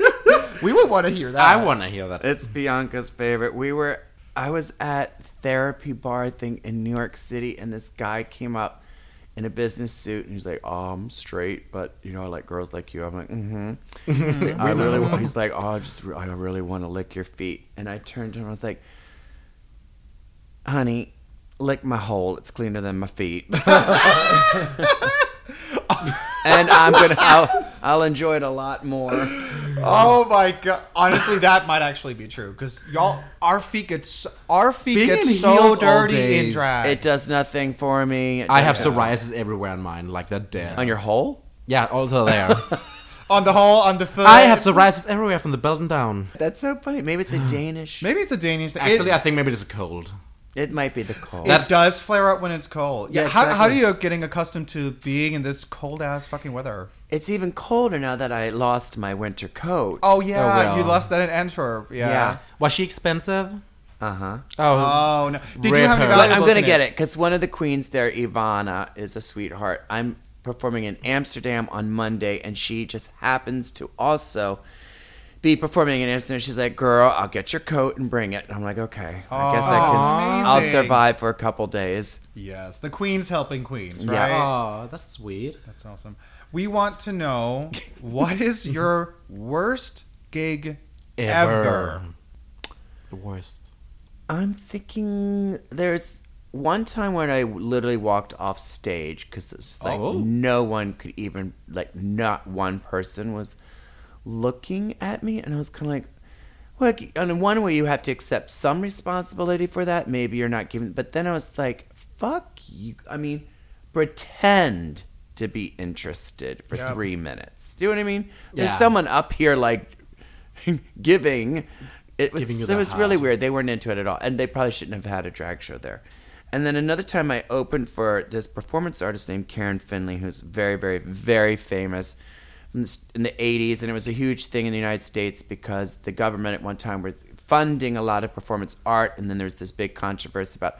A: we would want to hear that.
B: I want to hear that.
C: It's Bianca's favorite. We were I was at therapy bar thing in New York City and this guy came up in a business suit and he's like, Oh, I'm straight, but you know, I like girls like you. I'm like, mm. mm-hmm. I really wa-" he's like, Oh, I just I really want to lick your feet. And I turned to him, I was like, Honey, lick my hole. It's cleaner than my feet. and I'm gonna I'll, I'll enjoy it a lot more.
A: Oh my god! Honestly, that might actually be true because y'all, our feet get so, our feet
B: Being
A: get
B: in heels
A: so
B: all
A: dirty
B: day,
A: in drag.
C: It does nothing for me. It
B: I have
C: doesn't-
B: psoriasis everywhere on mine, like that there.
C: on your hole.
B: yeah, also there.
A: on the whole, on the foot.
B: I have psoriasis everywhere from the belt and down.
C: That's so funny. Maybe it's a Danish.
A: Maybe it's a Danish thing.
B: Actually,
A: it,
B: I think maybe it's a cold.
C: It might be the cold.
A: it does flare up when it's cold. Yeah.
C: Yeah,
A: how, how do
C: exactly.
A: you getting accustomed to being in this cold ass fucking weather?
C: it's even colder now that I lost my winter coat.
A: Oh yeah,
B: well.
A: you lost that in Antwerp. Yeah.
C: Yeah.
B: Was she expensive?
C: Uh huh.
B: Oh,
A: Oh no! Did you
B: Rip
A: have any
B: her.
C: But
A: valuables
C: I'm gonna
A: in
C: get it because one of the queens there, Ivana, is a sweetheart. I'm performing in Amsterdam on Monday, and she just happens to also be performing in Amsterdam. She's like, "Girl, I'll get your coat and bring it." And I'm like, "Okay, I guess I
A: Aw,
C: can.
A: that's
C: I'll
A: amazing.
C: survive for a couple days."
A: Yes, the queens helping queens,
C: Yeah.
A: right?
B: oh, that's sweet.
A: That's awesome. We want to know what is your worst gig ever?
B: Ever. The worst.
C: I'm thinking there's one time when I literally walked off stage because it's like
B: Oh.
C: no one could even like not one person was looking at me, and I was kind of like, well, like, in one way you have to accept some responsibility for that. Maybe you're not giving, but then I was like, fuck you. I mean, pretend to be interested for
A: Yep.
C: three minutes. Do you know what I mean? There's
B: Yeah.
C: someone up here like giving. It was
B: Giving you
C: it
B: the
C: was really
B: hug.
C: weird. They weren't into it at all, and they probably shouldn't have had a drag show there. And then another time, I opened for this performance artist named Karen Finley, who's very, very, very famous in the s- in the '80s, and it was a huge thing in the United States because the government at one time was funding a lot of performance art, and then there's this big controversy about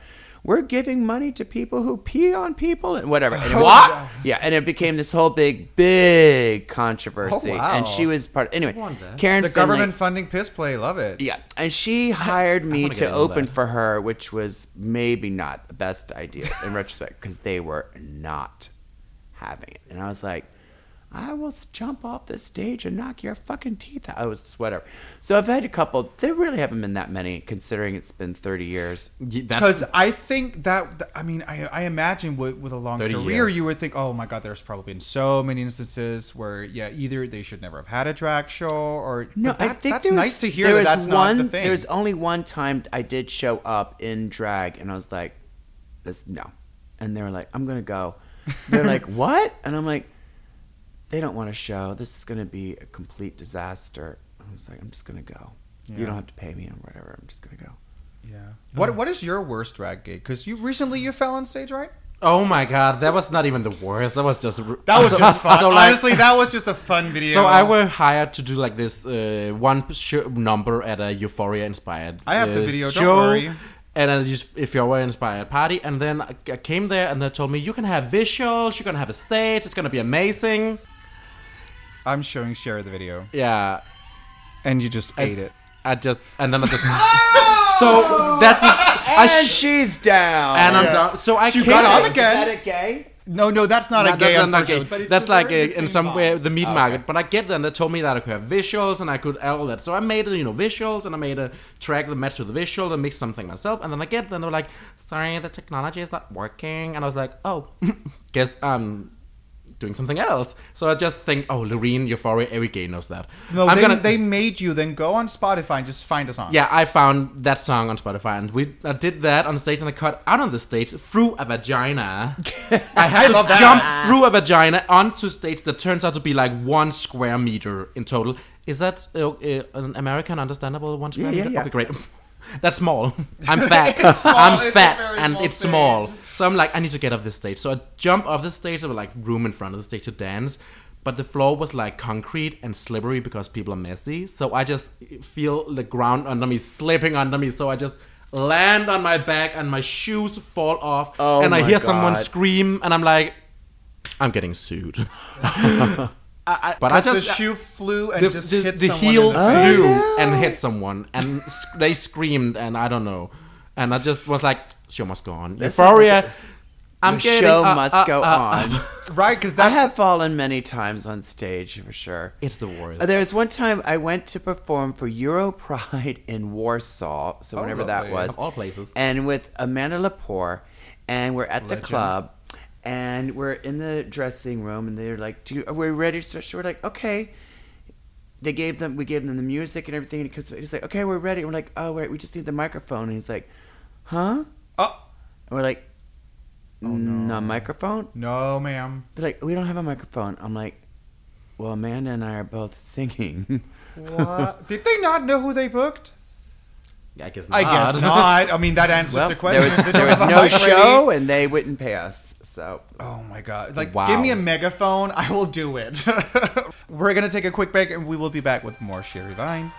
C: we're giving money to people who pee on people and whatever. And it was-
A: What?
C: Yeah, and it became this whole big, big controversy.
A: Oh, wow.
C: And she was part. Anyway,
B: wonder.
C: Karen
A: The
C: Finley.
A: government funding piss play, love it.
C: Yeah, and she hired me
B: wanna
C: to
B: get into
C: open
B: that.
C: for her, which was maybe not the best idea in retrospect because they were not having it. And I was like, I will s- jump off this stage and knock your fucking teeth out. I was whatever. So I've had a couple. There really haven't been that many, considering it's been thirty years.
B: Ye- That's
A: Because I think that th- I mean I, I imagine with, with a long
B: 30
A: career
B: years.
A: you would think oh my god there's probably been so many instances where yeah either they should never have had a drag show or
C: No,
A: but that,
C: I think
A: that's
C: there was-
A: nice to hear
C: there
A: that
C: was
A: that's
C: one,
A: not the thing
C: There was only one time I did show up in drag, and I was like, this, "No," and they were like, "I'm gonna go." They're like, "What?" And I'm like, "They don't want a show. This is gonna be a complete disaster." I was like, "I'm just gonna go.
A: Yeah.
C: You don't have to pay me or whatever. I'm just gonna go."
A: yeah what what is your worst drag gig because you recently you fell on stage right
B: oh my god, that was not even the worst. That was just
A: that was just fun
B: So like,
A: honestly that was just a fun video
B: So I were hired to do like this uh, one sh- number at a Euphoria inspired.
A: I have the
B: uh,
A: video, don't
B: show,
A: worry.
B: And a Eus- Euphoria inspired party, and then I I came there and they told me you can have visuals, you're gonna have a stage, it's gonna be amazing.
A: I'm showing Cher the video
B: Yeah,
A: and you just ate it
B: I just and then I just so that's I
C: And
B: sh-
C: she's down.
B: and I'm
A: Yeah.
B: done. So I
A: She
B: came
A: got up
B: there-
A: again.
C: Is that a gay?
A: no no that's not
B: Not-
A: a gay
B: that's not
A: unfortunately,
B: gay.
A: but it's
B: That's
A: the
B: like
A: very
B: uh
A: same
B: in some way
A: vibe.
B: the meat market. But I get there and they told me that I could have visuals and I could all that. So I made you know visuals and I made a track that matched to the visual and mixed something myself. And then I get there and they're like, "Sorry, the technology is not working." And I was like, "Oh, guess I'm doing something else." So I just think, "Oh, Loreen, Euphoria, every gay knows that."
A: No,
B: I'm
A: they,
B: gonna.
A: they made you then go on Spotify and just find a song.
B: yeah, I found that song on Spotify, and we I did that on stage, and I cut out on the stage through a vagina. I had to
A: love that.
B: jump through a vagina onto stage that turns out to be like one square meter in total, Is that uh, uh, an American understandable one square
C: yeah,
B: meter?
C: yeah.
B: Okay, great. That's small. I'm fat. I'm
A: it's a
B: fat,
A: very
B: and
A: small
B: it's
A: stage.
B: small. So I'm like, I need to get off this stage. So I jump off the stage. There was like room in front of the stage to dance, but the floor was like concrete and slippery because people are messy. So I just feel the ground under me slipping under me. So I just land on my back, and my shoes fall off,
C: Oh
B: and I
C: my
B: hear someone
C: God.
B: scream, and I'm like, I'm getting sued. I- I- but I
A: But the
B: just uh,
A: shoe flew and
B: the,
A: just
B: the-
A: hit
B: the
A: someone in
B: heel
A: the face.
B: flew and hit someone, and s- they screamed, and I don't know, and I just was like, show must go on. Euphoria. I'm
C: the
B: getting
C: show
B: uh,
C: must
B: uh,
C: go
B: uh, uh.
C: on.
A: Right, because
C: I
A: that
C: have fallen many times on stage for sure.
B: It's the worst.
C: Uh, There was one time I went to perform for Euro Pride in Warsaw, so whenever that
A: lovely.
C: was,
B: Oh, Of all places.
C: and with Amanda Lepore, and we're at the club, and we're in the dressing room, and they're like, "Do you, are we ready to start?" show?" We're like, "Okay." They gave them, we gave them the music and everything, because he's like, "Okay, we're ready." We're like, "Oh, wait, we just need the microphone," and he's like, "Huh?"
A: Oh.
C: and we're like,
B: Oh,
C: "No microphone."
A: no, ma'am.
C: They're like, we don't have a microphone. I'm like, well, Amanda and I are both singing.
A: What? Did they not know who they booked?
B: I guess
C: Ah,
B: not.
A: I guess not. I mean, that answers
C: well,
A: the
C: there
A: question.
C: was,
A: Did they
C: there was
A: have a
C: no
A: mic ready?
C: show, and they wouldn't pay us. So
A: Oh my god! Like,
B: Wow.
A: give me a megaphone. I will do it. We're gonna take a quick break, and we will be back with more Sherry Vine.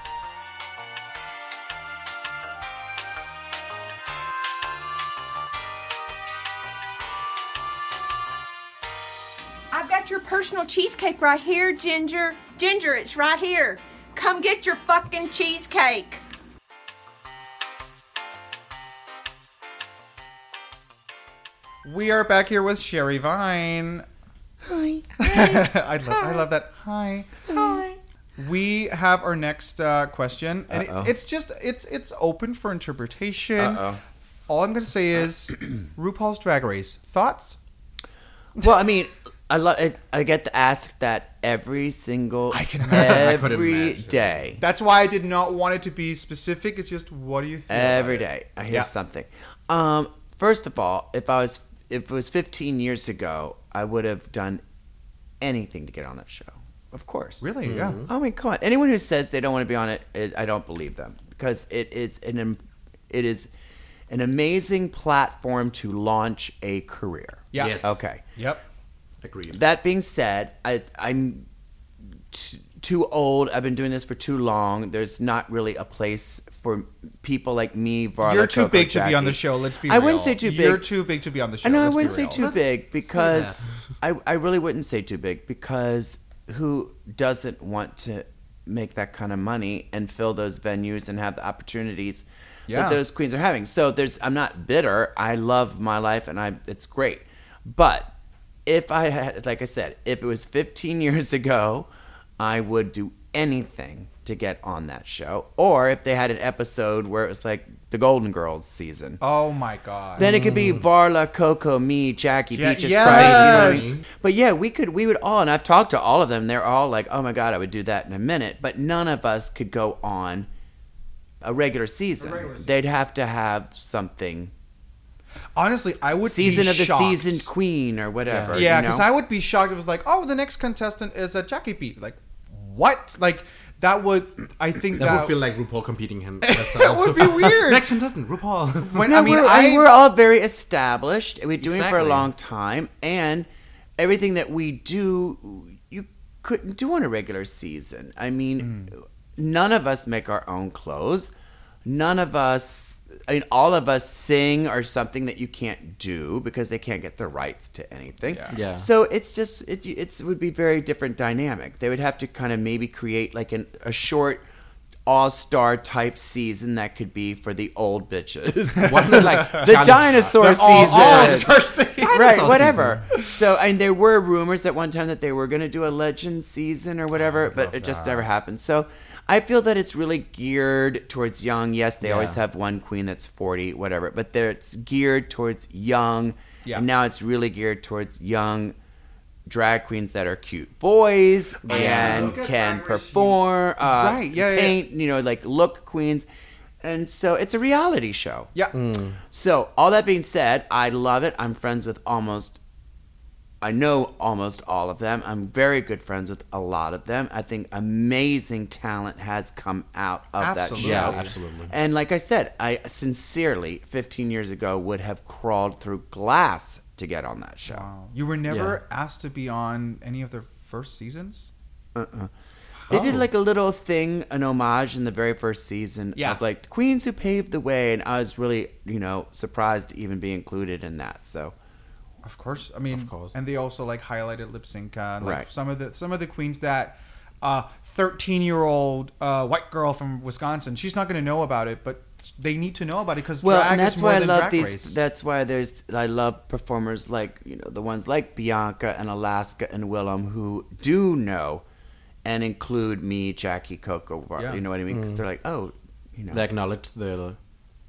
F: I've got your personal cheesecake right here, Ginger. Ginger, it's right here. Come get your fucking cheesecake.
A: We are back here with Sherry Vine. Hi. I love. I love that. Hi. Hi. We have our next uh, question, and it's, it's just it's it's open for interpretation.
C: Uh-oh.
A: All I'm gonna say is RuPaul's Drag Race thoughts.
C: Well, I mean, I love. it- I get to ask that every single I can imagine. every day.
A: That's why I did not want it to be specific. It's just what do you think? about
C: Every
A: it?
C: day I hear
A: Yeah.
C: something. Um, first of all, if I was if it was 15 years ago, I would have done anything to get on that show. Of course.
A: Really? Yeah.
C: I mean, come on. Oh Anyone who says they don't want to be on it, it I don't believe them because it is an im- it is an amazing platform to launch a career.
A: Yeah.
B: Yes.
C: Okay.
A: Yep.
B: Agreed.
C: That being said, I, I'm t- too old. I've been doing this for too long. There's not really a place for people like me. Varla,
A: You're too
C: Coco,
A: big to be
C: Jackie.
A: on the show. Let's be.
C: I wouldn't
A: real.
C: say too big.
A: You're too big to be on the show.
C: I know I
A: let's be
C: wouldn't say
A: real.
C: too big because I, I really wouldn't say too big because who doesn't want to make that kind of money and fill those venues and have the opportunities
A: Yeah.
C: that those queens are having. So there's I'm not bitter. I love my life and I it's great. But if I had like I said, if it was 15 years ago, I would do anything to get on that show or if they had an episode where it was like the Golden Girls season.
A: Oh my god.
C: Then it could be Varla, Coco, me, Jackie,
A: Mm. Ja-
C: Peaches,
A: yes.
C: Christ. You know what I mean? But yeah, we could, we would all, and I've talked to all of them. They're all like, "Oh my god, I would do that in a minute." But none of us could go on a regular season.
A: regular season.
C: They'd have to have something
A: Honestly, I would
C: season
A: be
C: of the
A: shocked.
C: seasoned queen or whatever.
A: Yeah,
C: because
A: because I would be shocked. if It was like, oh, the next contestant is a Jackie Beat. Like, what? Like that would. I think
B: That
A: that,
B: would feel like RuPaul competing him.
A: that would be weird.
B: Next contestant, RuPaul.
A: when
C: No,
A: I mean,
C: we're,
A: I
C: and we're all very established. and We're doing it for a
B: Exactly.
C: long time, and everything that we do, you couldn't do on a regular season. I mean, none of us make our own clothes. None of us. I mean, all of us sing or something that you can't do because they can't get the rights to anything.
A: Yeah.
B: Yeah.
C: So it's just it it's, would be very different dynamic. They would have to kind of maybe create like an, a short all star type season that could be for the old bitches.
B: Wasn't it like
C: the dinosaur season.
A: all, all star season.
C: Right,
B: Dinosaur
C: whatever. So, and there were rumors at one time that they were going to do a legend season or
A: Oh,
C: whatever, but it just never happened. So, I feel that it's really geared towards young. Yes, they always have one queen that's 40, whatever, but they're, it's geared towards young.
A: Yeah.
C: And now it's really geared towards young drag queens that are cute boys and
A: Oh, look at
C: can
A: Drag Race U.
C: perform, uh,
A: Right, yeah, yeah, yeah.
C: paint, you know, like look queens. And so it's a reality show.
A: Yeah.
C: So, all that being said, I love it. I'm friends with almost I know almost all of them. I'm very good friends with a lot of them. I think amazing talent has come out of
A: Absolutely.
C: that
B: Yeah,
C: show.
B: absolutely.
C: And like I said, I sincerely, 15 years ago, would have crawled through glass to get on that show.
A: Wow. You were never asked to be on any of their first seasons?
C: They
A: Uh-huh.
C: did like a little thing, an homage in the very first season
A: Yeah.
C: of like the queens who paved the way, and I was really, you know, surprised to even be included in that. So
A: Of course. I mean, of
B: course.
A: and they also like highlighted lip sync. Uh, like
C: Right.
A: Some of the some of the queens that uh, thirteen year old uh, white girl from Wisconsin, she's not going to know about it, but they need to know about it because
C: well,
A: drag
C: and that's
A: is more
C: why I
A: than
C: love
A: drag
C: these.
A: race.
C: That's why there's I love performers like you know the ones like Bianca and Alaska and Willem who do know and include me, Jackie, Coco. Var-
A: Yeah.
C: You know what I mean? 'Cause they're like, oh, you know,
B: They acknowledge the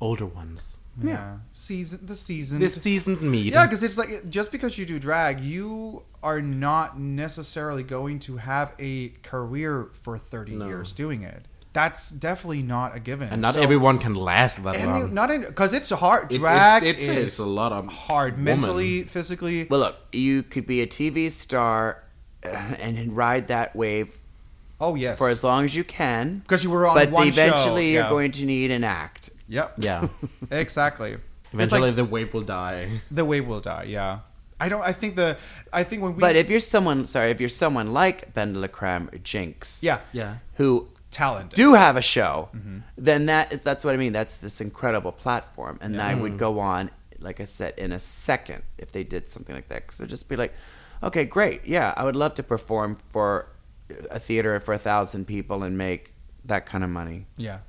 B: older ones.
A: yeah. season the season.
B: This seasoned meat.
A: yeah, because it's like just because you do drag, you are not necessarily going to have a career for thirty years doing it. That's definitely not a given.
B: and not
A: So-
B: everyone can last that
A: And you-
B: long.
A: not in because it's hard.
B: Um, It- it-
A: Drag
B: it
A: is
B: takes a lot of
A: hard
B: woman.
A: mentally, physically.
C: well, look, you could be a TV star and ride that wave
A: Oh yes,
C: for as long as you can.
A: 'Cause you were on
C: but
A: one show,
C: eventually you're
A: yeah.
C: going to need an act.
A: Yep.
B: yeah.
A: Exactly.
B: Eventually,
A: it's like
B: the wave will die.
A: the wave will die. Yeah. I don't. I think the. I think when we.
C: But if you're someone, sorry, if you're someone like Ben de la Creme or Jinx,
A: yeah,
B: Yeah.
C: who
A: talent.
C: do have a show,
B: Mm-hmm.
C: then that is that's what I mean. That's this incredible platform, and I
A: Mm.
C: would go on, like I said, in a second if they did something like that. So just be like, okay, great, yeah, I would love to perform for a theater for a thousand people and make that kind of money.
A: Yeah.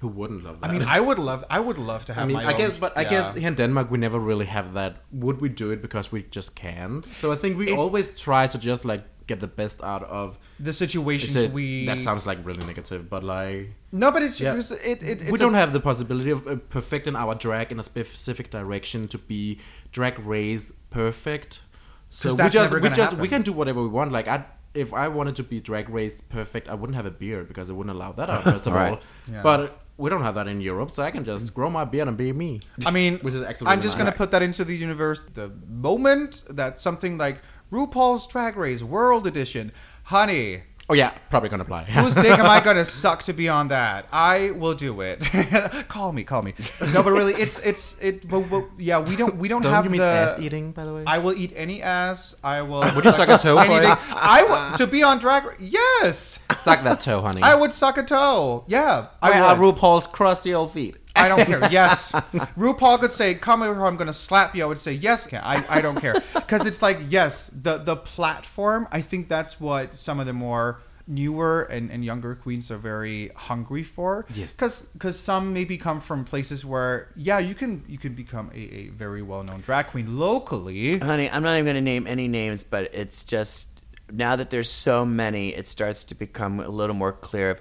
B: Who wouldn't love that?
A: I mean, I would love. I would love to have
B: I mean,
A: my.
B: I
A: own-
B: guess, but I
A: yeah.
B: guess here in Denmark we never really have that. Would we do it because we just can't? So I think we always try to just like get the best out of.
A: the situations
B: It's a-
A: we.
B: That sounds like really negative, but like
A: No, but it's
B: Yeah.
A: because it, it, it's
B: we
A: a-
B: don't have the possibility of uh, perfecting our drag in a specific direction to be drag race perfect. So
A: 'Cause
B: we
A: that's
B: just
A: never
B: we
A: gonna
B: just we
A: happen.
B: can do whatever we want. Like I, if I wanted to be drag race perfect, I wouldn't have a beard because it wouldn't allow that out first of
C: Right.
B: all.
A: Yeah. Mm.
B: But we don't have that in Europe, so I can just grow my beard and be me.
A: I mean,
B: Which is actually
A: I'm just
B: nice.
A: gonna put that into the universe. The moment that something like RuPaul's Drag Race World Edition, honey,
B: Oh yeah, probably gonna apply.
A: Whose dick am I gonna suck to be on that? I will do it. call me, call me. No, but really, it's it's it. But, but, yeah, we don't we don't,
B: Don't
A: have
B: you mean
A: the
B: ass eating, by the way?
A: I will eat any ass. I will.
B: Would you suck a toe for it?
A: anything. I will to be on drag. Ra- Yes,
B: Suck that toe, honey.
A: I would suck a toe. Yeah, I
B: Where are
A: would.
B: RuPaul's crusty old feet?
A: I don't care. Yes, RuPaul could say, "Come over, here, I'm gonna slap you." I would say, "Yes, I, I don't care," because it's like, yes, the the platform. I think that's what some of the more newer and, and younger queens are very hungry for.
B: Yes.
A: because some maybe come from places where, yeah, you can you can become a, a very well known drag queen locally.
C: Honey, I'm not even going to name any names, but it's just now that there's so many, it starts to become a little more clear of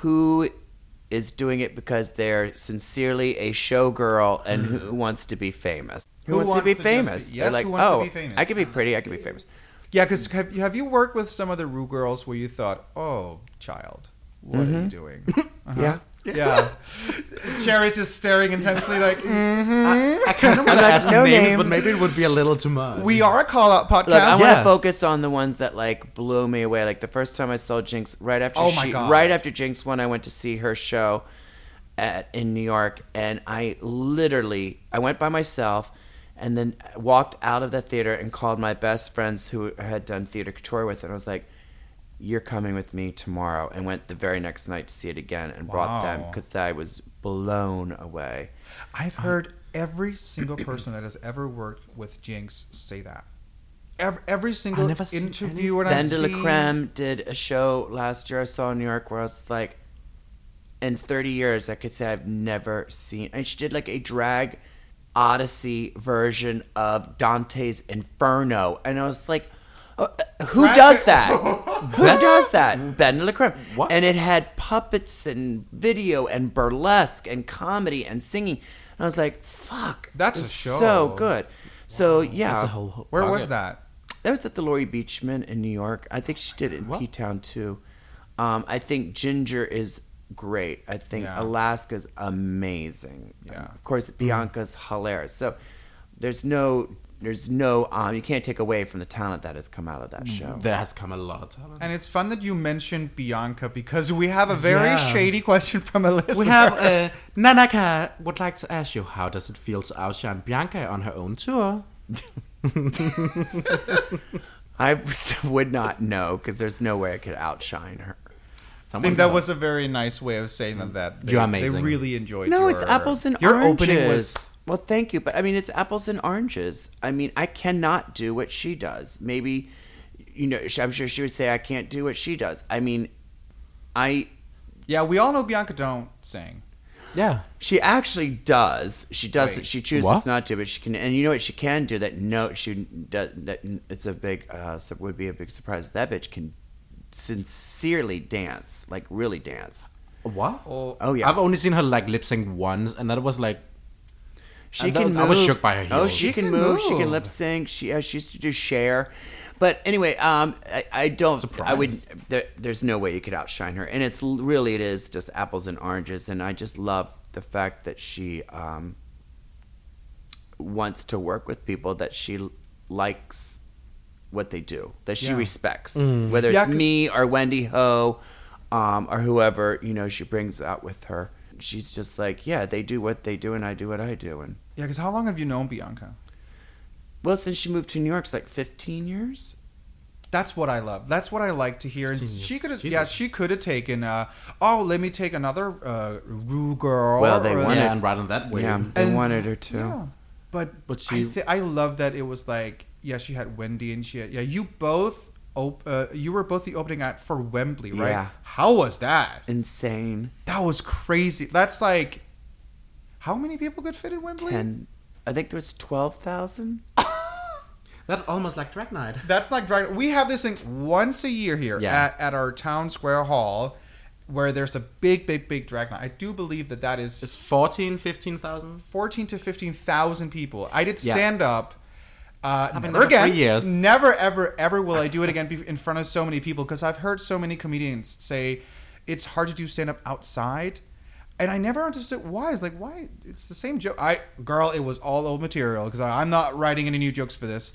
C: who is doing it because they're sincerely a showgirl and
A: Mm-hmm.
C: who wants to be famous. Who, wants, to be
A: just
C: famous?
A: be-
C: They're
A: yes,
C: like,
A: who wants to
C: oh,
A: be famous?"
C: I could be pretty, I could be famous.
A: Yeah, because have, you- have you worked with some of the Rue girls where you thought, "Oh, child, what are you doing?"
C: Yeah.
A: yeah, Sherry's just staring intensely, like.
B: I kind of want to ask
C: no
B: names,
C: names.
B: but maybe it would be a little too much.
A: We are a call out podcast.
C: Look, I want
B: Yeah.
C: to focus on the ones that like blew me away. Like the first time I saw Jinx, right after
A: Oh my
C: she,
A: God.
C: right after Jinx one, I went to see her show at in New York, and I literally I went by myself, and then walked out of the theater and called my best friends who had done theater couture with, and I was like. You're coming with me tomorrow, and went the very next night to see it again, and brought them
A: Wow.
C: because I was blown away.
A: I've heard every single person that has ever worked with Jinx say that. Every, every single
B: never seen
A: interview when I
C: Ben de
A: see
C: la Creme did a show last year I saw in New York where I was like, in 30 years, I could say I've never seen. And she did like a drag odyssey version of Dante's Inferno. And I was like, uh, uh, who does that? who does that? Ben de la Creme.
B: What?
C: And it had puppets and video and burlesque and comedy and singing. And I was like, fuck.
A: That's a
C: it's
A: show.
C: So good. So yeah,
B: That's a whole-
A: Where was
B: Okay.
A: that?
C: that was at the Laurie Beachman in New York. I think she did it in P Town too. Um, I think Ginger is great. I think
A: Yeah.
C: Alaska's amazing. Um,
A: Yeah. Mm-hmm.
C: Of course, Bianca's hilarious. So there's no There's no, um, you can't take away from the talent that has come out of
A: Mm-hmm.
C: that show.
B: There has come a lot of talent.
A: And it's fun that you mentioned Bianca because we have a very
B: Yeah.
A: shady question from a listener.
B: We have uh, Nanaka would like to ask you how does it feel to outshine Bianca on her own tour?
C: I would not know because there's no way I could outshine her.
A: I
B: Someone
A: think that was a very nice way of saying that. that they,
B: You're amazing.
A: They really enjoyed.
C: No,
A: your,
C: it's apples and
A: your
C: oranges.
A: opening was
C: well, thank you, but I mean it's apples and oranges. I mean I cannot do what she does. Maybe, you know, sh- I'm sure she would say I can't do what she does. I mean, I
A: yeah. We all know Bianca don't sing.
B: yeah.
C: she actually does. She does.
A: Wait,
C: She chooses
B: what?
C: not to, but she can. And you know what? She can do that. No, she does. That it's a big uh, su- would be a big surprise. That bitch can sincerely dance, like really dance.
B: What?
C: Oh, yeah.
B: I've only seen her like lip sync once, and that was like
C: She
B: And
C: can.
B: that- I was
C: move.
B: shook by her
C: Oh,
B: heels.
C: she,
B: She
C: can,
A: can
C: move. She
A: move.
C: can lip sync. She uh, she used to do share, but anyway, um, I, I don't. I would. There, there's no way you could outshine her, and it's l- really it is just apples and oranges, and I just love the fact that she um wants to work with people that she l- likes what they do that she
A: Yeah.
C: respects, whether
A: Yeah,
C: it's
A: 'cause-
C: me or Wendy Ho, um, or whoever you know she brings out with her. She's just like, yeah, they do what they do, and I do what I do, and
A: Yeah, because how long have you known Bianca?
C: well, since she moved to New York, it's like 15 years.
A: That's what I love. That's what I like to hear. And she could have, yeah,
B: Jesus.
A: she could have taken. Uh, oh, let me take another uh, Rue girl.
C: Well, they
A: or-
C: wanted-
B: yeah, and right on that way.
C: Yeah, they
A: And-
C: wanted her to.
A: Yeah. But
B: But
A: I,
B: she-
A: thi- I love that it was like yeah, she had Wendy and she had yeah, you both op- uh, you were both the opening act for Wembley, right?
C: Yeah.
A: How was that?
C: Insane.
A: That was crazy. That's like how many people could fit in Wembley?
C: 10. I think there was 12,000.
B: That's almost like Drag Night.
A: That's like Dragon. We have this thing once a year here
B: Yeah.
A: at, at our town square hall where there's a big big big drag night. I do believe that that is
B: It's 14, 15,000.
A: 14 to 15,000 people. I did
B: Yeah.
A: stand up. Uh, never
B: there for
A: again.
B: three years.
A: Never, ever, ever will I do it again be- in front of so many people because I've heard so many comedians say it's hard to do stand up outside, and I never understood why. It's like why it's the same joke. I girl, it was all old material because I'm not writing any new jokes for this,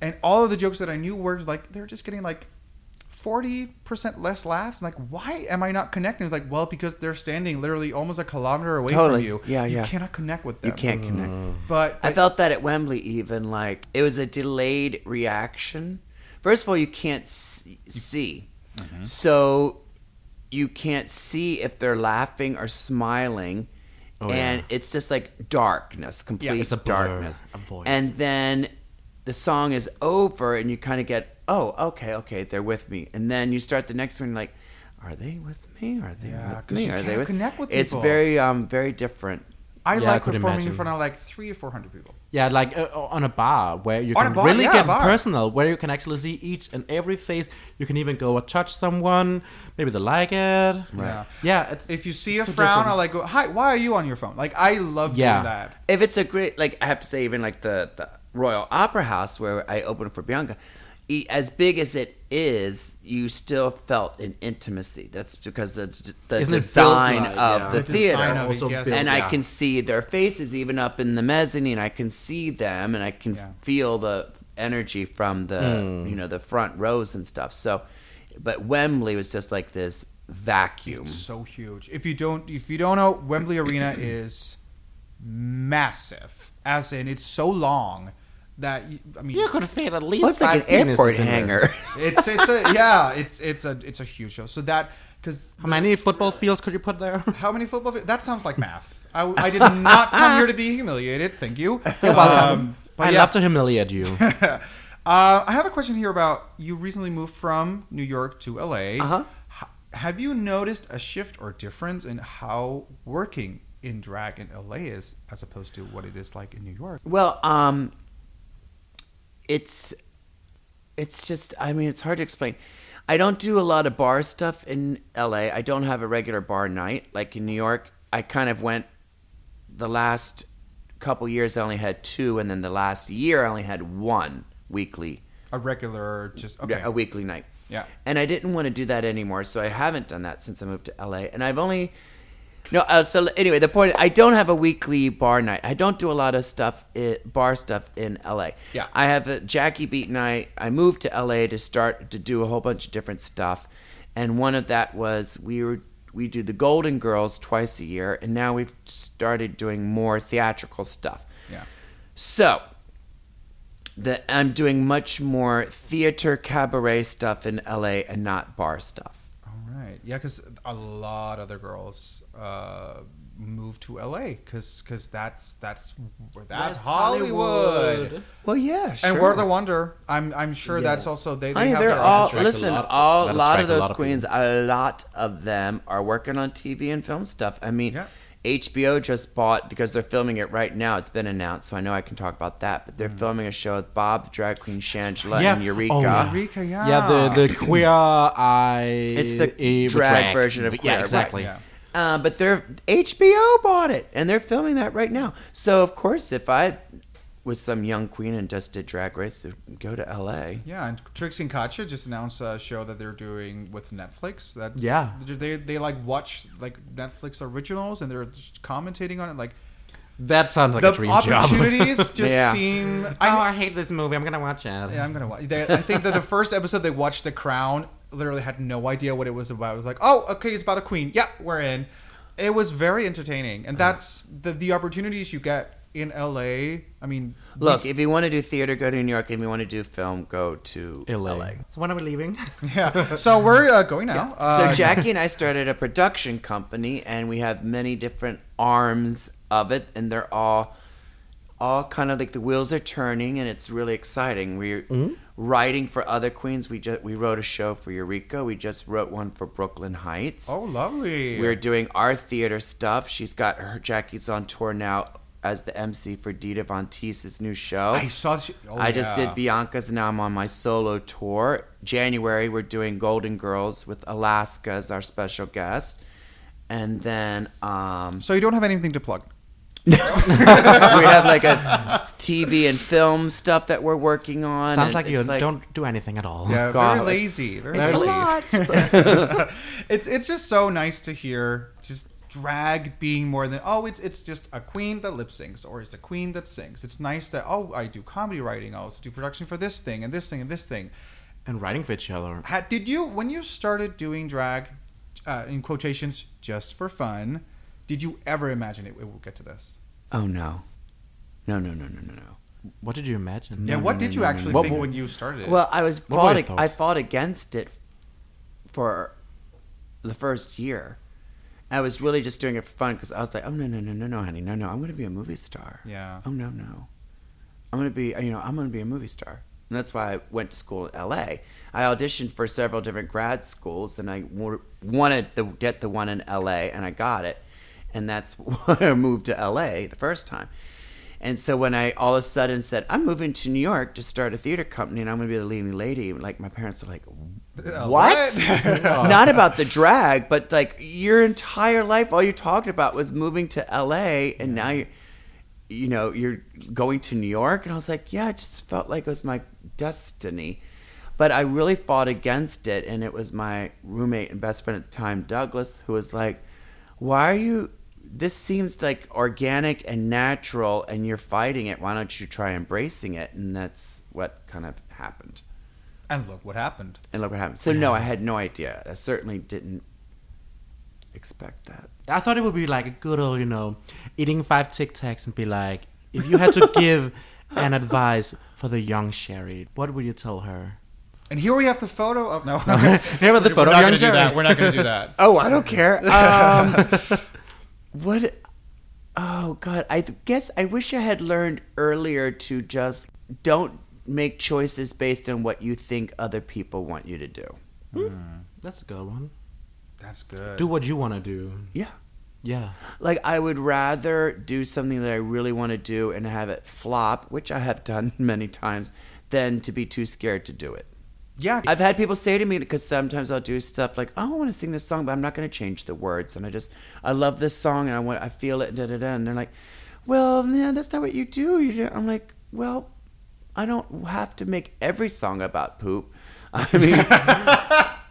A: and all of the jokes that I knew were like they're just getting like forty percent less laughs. i like why am I not connecting? It's like well because they're standing literally almost a kilometer away
C: Totally.
A: from you.
C: Yeah,
A: you
C: yeah.
A: cannot connect with them.
C: You
B: Mm.
C: can't connect.
A: Mm. But,
C: I felt that at Wembley, even like it was a delayed reaction. First of all, you can't s- see.
A: Mm-hmm.
C: So you can't see if they're laughing or smiling. and it's just like darkness, complete
A: Oh, it's
B: a blur,
C: darkness.
B: a void.
C: And then the song is over, and you kind of get, oh, okay, okay, they're with me. And then you start the next one, like, are they with me? Are they
A: Yeah,
C: with
A: 'cause
C: me?
A: you
C: Are they
A: can't
C: with
A: connect with
C: It's
A: people.
C: very, um, very different.
A: I
B: Yeah, I
A: like
B: could
A: performing in
B: imagine.
A: front of like three or four hundred people.
B: Yeah, like uh, on a bar where you
A: On
B: can
A: a bar,
B: really
A: yeah, a
B: get
A: bar.
B: personal, where you can actually see each and every face. You can even go and touch someone. Maybe they like it.
A: Yeah.
B: Yeah. It's,
A: If you see a
B: so
A: frown,
B: different.
A: I'll like go, hi, why are you on your phone? Like I love
B: Yeah.
A: doing that.
C: if it's a great like i have to say even like the the royal opera house where i opened for bianca e- as big as it is you still felt an intimacy that's because the the
B: Isn't it built
C: design
B: like-
C: of
B: yeah.
C: the,
A: The
C: theater
A: design of it,
B: also
A: yes.
B: built,
C: and
B: yeah.
C: i can see their faces even up in the mezzanine i can see them and i can
A: Yeah.
C: feel the energy from the
B: Hmm.
C: you know the front rows and stuff so but wembley was just like this vacuum
A: It's so huge. If you don't, if you don't know, Wembley Arena is massive. As in, it's so long that you, I mean,
B: you could fit at least
C: well, it's
B: five
C: like an airport
B: penises in there.
C: hangar
A: it's it's a yeah, it's it's a it's a huge show. So that because
B: How many football fields could you put there?
A: how many football? fi- That sounds like math. I, I did not come here to be humiliated. Thank you. Um, You're welcome.
B: I love to humiliate you.
A: Uh, I have a question here about you recently moved from New York to LA.
C: Uh-huh.
A: H- have you noticed a shift or difference in how working in drag in LA is as opposed to what it is like in New York?
C: Well, um, it's it's just I mean it's hard to explain. I don't do a lot of bar stuff in LA. I don't have a regular bar night like in New York. I kind of went the last couple years. I only had two, and then the last year I only had one weekly
A: A regular, just okay.
C: yeah, a weekly night.
A: Yeah.
C: And I didn't want to do that anymore, so I haven't done that since I moved to LA. And I've only No, uh, so anyway, the point I don't have a weekly bar night. I don't do a lot of stuff, i bar stuff in LA.
B: Yeah.
C: I have a Jackie Beat night. I moved to LA to start to do a whole bunch of different stuff, and one of that was we were we do the Golden Girls twice a year, and now we've started doing more theatrical stuff.
A: Yeah.
C: So that I'm doing much more theater cabaret stuff in LA and not bar stuff.
A: All right. Yeah, because a lot of the girls uh, move to LA because that's that's that's Hollywood.
C: Well, yeah,
A: And World of Wonder, I'm I'm sure that's also they. they
C: I mean,
A: have
C: they're
A: their
C: all
A: own-
B: attracts a
C: listen.
B: lot-
C: all a
B: that
C: lot of
B: attracts a
C: those
B: lot of
C: queens, a lot of them are working on TV and film stuff. I mean,
A: Yeah.
C: HBO just bought because they're filming it right now. It's been announced, so I know I can talk about that. But they're filming a show with Bob the drag queen Shangela
B: Yeah.
C: and Eureka.
B: Oh, yeah.
A: Eureka, yeah.
B: Yeah, the, the queer eye.
C: It's the
B: eh,
C: drag version of queer,
B: Yeah,
C: right,
B: exactly.
A: yeah.
C: Uh, but they're HBO bought it, and they're filming that right now. So of course, if I was some young queen and just did Drag Race, I'd go to LA.
A: Yeah, and Trixie and Katya just announced a show that they're doing with Netflix. That
B: Yeah.
A: they they like watch like Netflix originals and they're just commentating on it. Like
B: That sounds like a
A: the
B: dream job.
A: opportunities just
C: Yeah.
A: seem.
D: Oh,
A: I,
D: I hate this movie. I'm gonna watch it.
A: yeah, I'm gonna watch. They, I think that the first episode they watched The Crown literally had no idea what it was about. It was like, oh, okay, it's about a queen. Yeah, we're in. It was very entertaining, and that's the the opportunities you get in LA. I mean,
C: Look, if you want to do theater, go to New York. If you want to do film, go to
B: LA.
C: LA.
D: So when are we leaving?
A: yeah. So we're uh, going now. Uh,
C: so Jackie and I started a production company, and we have many different arms of it, and they're all all kind of like the wheels are turning, and it's really exciting. We're
A: Mm-hmm.
C: writing for other queens. We just we wrote a show for Eureka. We just wrote one for Brooklyn Heights.
A: oh, lovely.
C: We're doing our theater stuff. She's got her Jackie's on tour now as the MC for Dita Von Teese's new show.
A: I saw. She, oh,
C: I just
A: yeah.
C: did Bianca's. Now I'm on my solo tour. January, we're doing Golden Girls with Alaska as our special guest. And then um,
A: So you don't have anything to plug.
C: we have like a TV and film stuff that we're working on.
B: Sounds
C: and
B: like you
C: it's
B: don't do anything at all.
A: Yeah,
C: Oh, God.
A: very lazy. Very
C: It's a
A: lazy.
C: lot.
A: It's it's just so nice to hear just drag being more than oh it's it's just a queen that lip syncs or it's a queen that sings. It's nice that oh I do comedy writing. I also do production for this thing and this thing and this thing.
B: And writing for each other.
A: Ha did you when you started doing drag uh, in quotations just for fun? Did you ever imagine it, it would get to this?
C: oh, no. No, no, no, no, no, no.
B: What did you imagine?
A: yeah. What
C: no,
A: did
C: no,
A: you
C: no, no,
A: actually
C: no.
A: think
B: What-
A: when you started? it?
C: Well, I was
B: What were
C: fought.
B: your
C: ag- I
B: thoughts?
C: fought against it for the first year. I was really just doing it for fun because I was like, oh no no no no no honey no no I'm gonna be a movie star.
A: Yeah.
C: Oh no no, I'm gonna be you know I'm gonna be a movie star. And that's why I went to school in L.A. I auditioned for several different grad schools, and I wa- wanted to get the one in L.A. and I got it, and that's why I moved to L.A. the first time. And so when I all of a sudden said, I'm moving to New York to start a theater company and I'm going to be the leading lady, like my parents are like, What? Not about the drag, but like your entire life, all you talked about was moving to LA and now you're, you know, you're going to New York. And I was like, Yeah, it just felt like it was my destiny. But I really fought against it. And it was my roommate and best friend at the time, Douglas, who was like, why are you this seems like organic and natural and you're fighting it why don't you try embracing it and that's what kind of happened
A: and look what happened.
C: and look what happened so no i had no idea i certainly didn't expect that
B: I thought it would be like a good old, you know, eating five Tic Tacs and be like, if you had to give an advice for the young Sherry, what would you tell her?
A: And here we have the photo of no.
B: Here with the photo of young Sherry.
A: We're not going to do that.
C: oh i don't care um, what oh god i guess i wish i had learned earlier to just don't make choices based on what you think other people want you to do
B: That's a good one.
A: That's good.
B: Do what you want to do.
C: yeah
B: Yeah.
C: Like I would rather do something that I really want to do and have it flop, which I have done many times, than to be too scared to do it.
A: yeah,
C: I've had people say to me because sometimes I'll do stuff like, "Oh, I want to sing this song, but I'm not going to change the words," and I just I love this song and I want I feel it, da da da, and they're like, "Well, yeah, that's not what you do." You do. I'm like, "Well, I don't have to make every song about poop." I mean,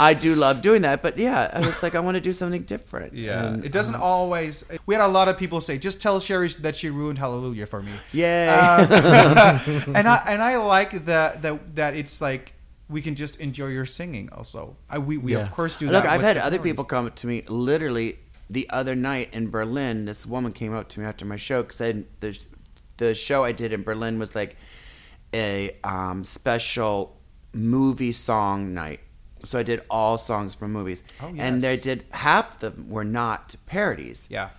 C: I do love doing that, but yeah, I was like, I want to do something different.
A: Yeah,
C: And-
A: it doesn't always. We had a lot of people say, "Just tell Sherry that she ruined Hallelujah for me."
C: Yay.
A: Uh, and I and I like that that that it's like we can just enjoy your singing. Also, I, we we of course do.
C: Look,
A: that
C: I've
A: with
C: had
A: the
C: other
A: performance.
C: people come up to me literally the other night in Berlin. This woman came up to me after my show because the the show I did in Berlin was like a um, special movie song night. So I did all songs from movies,
A: Oh, yes.
C: and they did half of them were not parodies.
A: Yeah.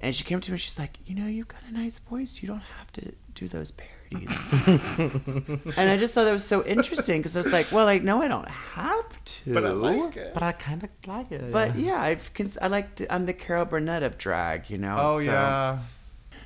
C: And she came to me and she's like, You know, you've got a nice voice. You don't have to do those parodies. and I just thought that was so interesting because I was like, Well, I know I don't have to. But I like it.
B: But I kind of like it.
C: But yeah, I've cons- I like to, I'm the Carol Burnett of drag, you know.
A: Oh
C: so
A: yeah.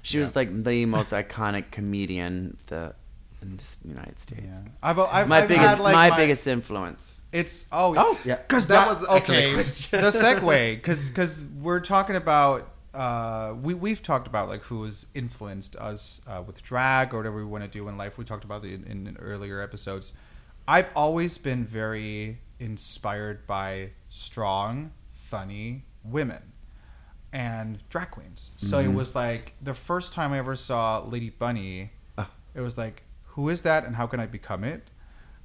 C: she was like the most iconic comedian the in the United States.
A: Yeah. I've, I've,
C: My
A: I've
C: biggest
A: had, like,
C: my, biggest influence.
A: It's oh
B: Oh, yeah.
A: because that,
B: That
A: was
B: was actually
A: okay.
B: a question.
A: the segue because because we're talking about uh we we've talked about like who's influenced us uh, with drag or whatever we want to do in life. We talked about it in, in earlier episodes. I've always been very inspired by strong, funny women and drag queens. So
B: Mm-hmm.
A: it was like the first time I ever saw Lady Bunny, it was like, who is that and how can I become it?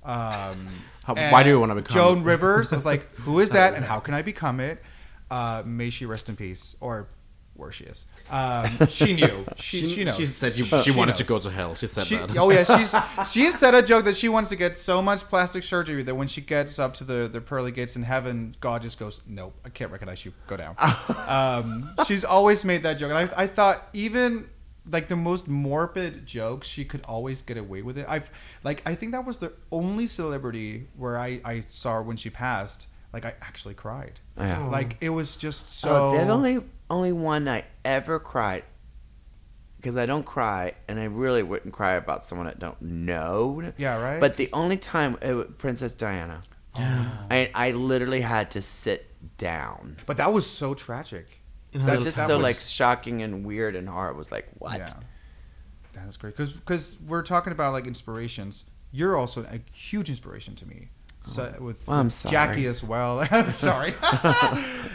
A: Um,
B: How-
A: and
B: why do you wanna become
A: Joan
B: it?
A: Rivers? I was like, who is that and how can I become it? Uh, may she rest in peace or where she is. Um, she knew. She, she, knows.
B: She said she, Uh, she wanted to go
A: knows.
B: to hell. She said
A: She,
B: that.
A: oh yeah, she's she said a joke that she wants to get so much plastic surgery that when she gets up to the, the pearly gates in heaven, God just goes, "Nope, I can't recognize you. Go down." um, she's always made that joke, and I, I thought even like the most morbid jokes, she could always get away with it. I've like I think that was the only celebrity where I I saw her when she passed. Like I actually cried.
C: Oh, Yeah.
A: Like it was just so.
C: So Oh, the only only one I ever cried because I don't cry, and I really wouldn't cry about someone I don't know.
A: Yeah, right? Oh.
C: But the only time it wa- Princess Diana, I I literally had to sit down.
A: but that was so tragic.
C: That's just
A: that
C: so
A: was-
C: like shocking and weird and hard. It was like what?
A: Yeah. That's great. Because we're talking about like inspirations. You're also a huge inspiration to me. So with,
C: Well, I'm
A: with
C: sorry.
A: Jackie as well. sorry.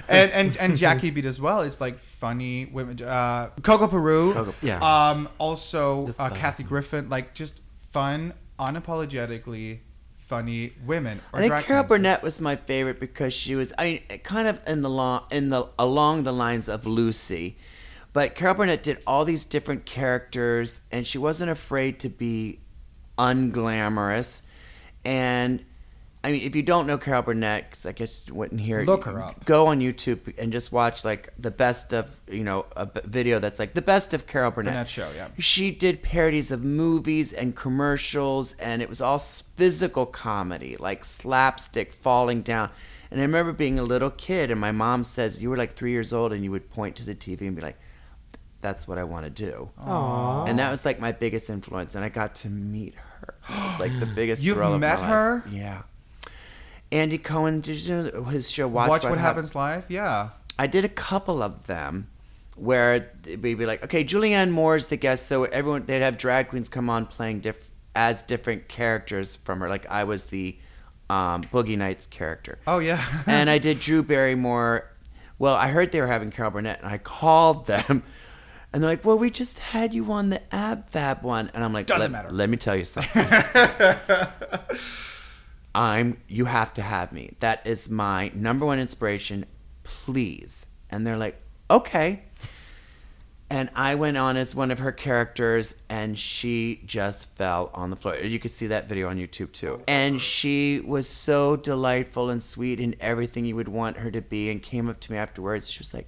A: and, and and Jackie beat as well. It's like funny women. Uh, Coco Peru.
C: Coco-
B: yeah.
A: Um, also uh, Kathy Griffin. Like just fun, unapologetically funny women. Or
C: I think
A: drag
C: Carol
A: queens.
C: Burnett was my favorite because she was I mean, kind of in the long in the along the lines of Lucy, but Carol Burnett did all these different characters and she wasn't afraid to be unglamorous, and I mean if you don't know Carol Burnett, 'cause I guess you wouldn't hear it,
A: Look
C: you
A: her
C: can
A: up.
C: Go on YouTube and just watch like the best of you know a b- video that's like the best of Carol Burnett.
A: Burnett show, yeah.
C: She did parodies of movies and commercials, and it was all s- physical comedy, like slapstick, falling down. And I remember being a little kid, and my mom says, You were like three years old, and you would point to the TV and be like, That's what I want to do. Aww. And that was like my biggest influence, and I got to meet her. It was like the biggest
A: You've
C: thrill of my
A: met
C: life.
A: her?
C: Yeah. Andy Cohen, did you know his show Watch,
A: Watch
C: What,
A: what,
C: Happens?
A: happens live. Yeah.
C: I did a couple of them where they'd be like, okay, Julianne Moore's the guest, so everyone they'd have drag queens come on playing diff- as different characters from her. Like I was the um, Boogie Nights character,
A: Oh yeah.
C: and I did Drew Barrymore. Well, I heard they were having Carol Burnett, and I called them. And they're like, well, we just had you on the Ab Fab one. And I'm like,
A: Doesn't
C: "Let-
A: matter."
C: Let me tell you something. I'm you have to have me. That is my number one inspiration. Please. And they're like, okay. And I went on as one of her characters, and she just fell on the floor. You could see that video on YouTube
A: Oh,
C: too. And she was so delightful and sweet and everything you would want her to be, and came up to me afterwards. She was like,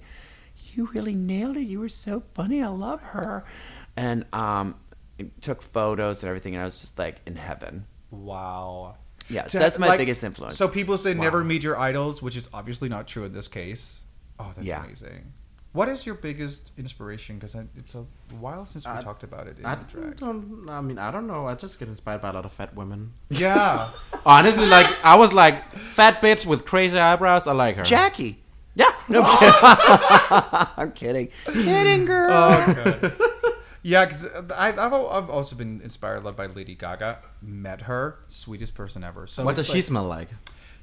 C: You really nailed it. You were so funny. I love her. And um, took photos and everything, and I was just like in heaven.
A: Wow.
C: Yeah, so
A: To-
C: that's my
A: like,
C: biggest influence.
A: So people say never meet your idols, which is obviously not true in this case. Oh, that's
C: Yeah.
A: amazing. What is your biggest inspiration? Because it's a while since we talked about it in
B: I
A: the drag.
B: don't. I mean, I don't know. I just get inspired by a lot of fat women.
A: Yeah,
B: Honestly, like I was like fat bitch with crazy eyebrows. I like her.
C: Jackie.
B: Yeah.
C: No, I'm kidding. Kidding, girl.
A: yeah. Because I've, I've al- I've also been inspired a lot by Lady Gaga. Met her, sweetest person ever. So
B: What
A: it's
B: does she
A: like-
B: smell like?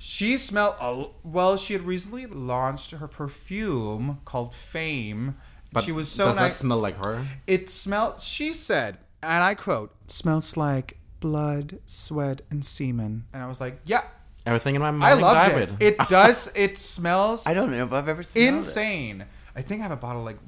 A: She smelled a, well. She had recently launched her perfume called Fame.
B: But
A: she was so
B: does
A: nice.
B: that smell like her?
A: It smells, she said, and I quote, smells like blood, sweat, and semen. And I was like, yeah,
B: Everything in my
A: I
B: mind.
A: loved
B: died.
A: it. It does, it smells
C: I don't know if I've ever seen
A: insane. I think I have a bottle like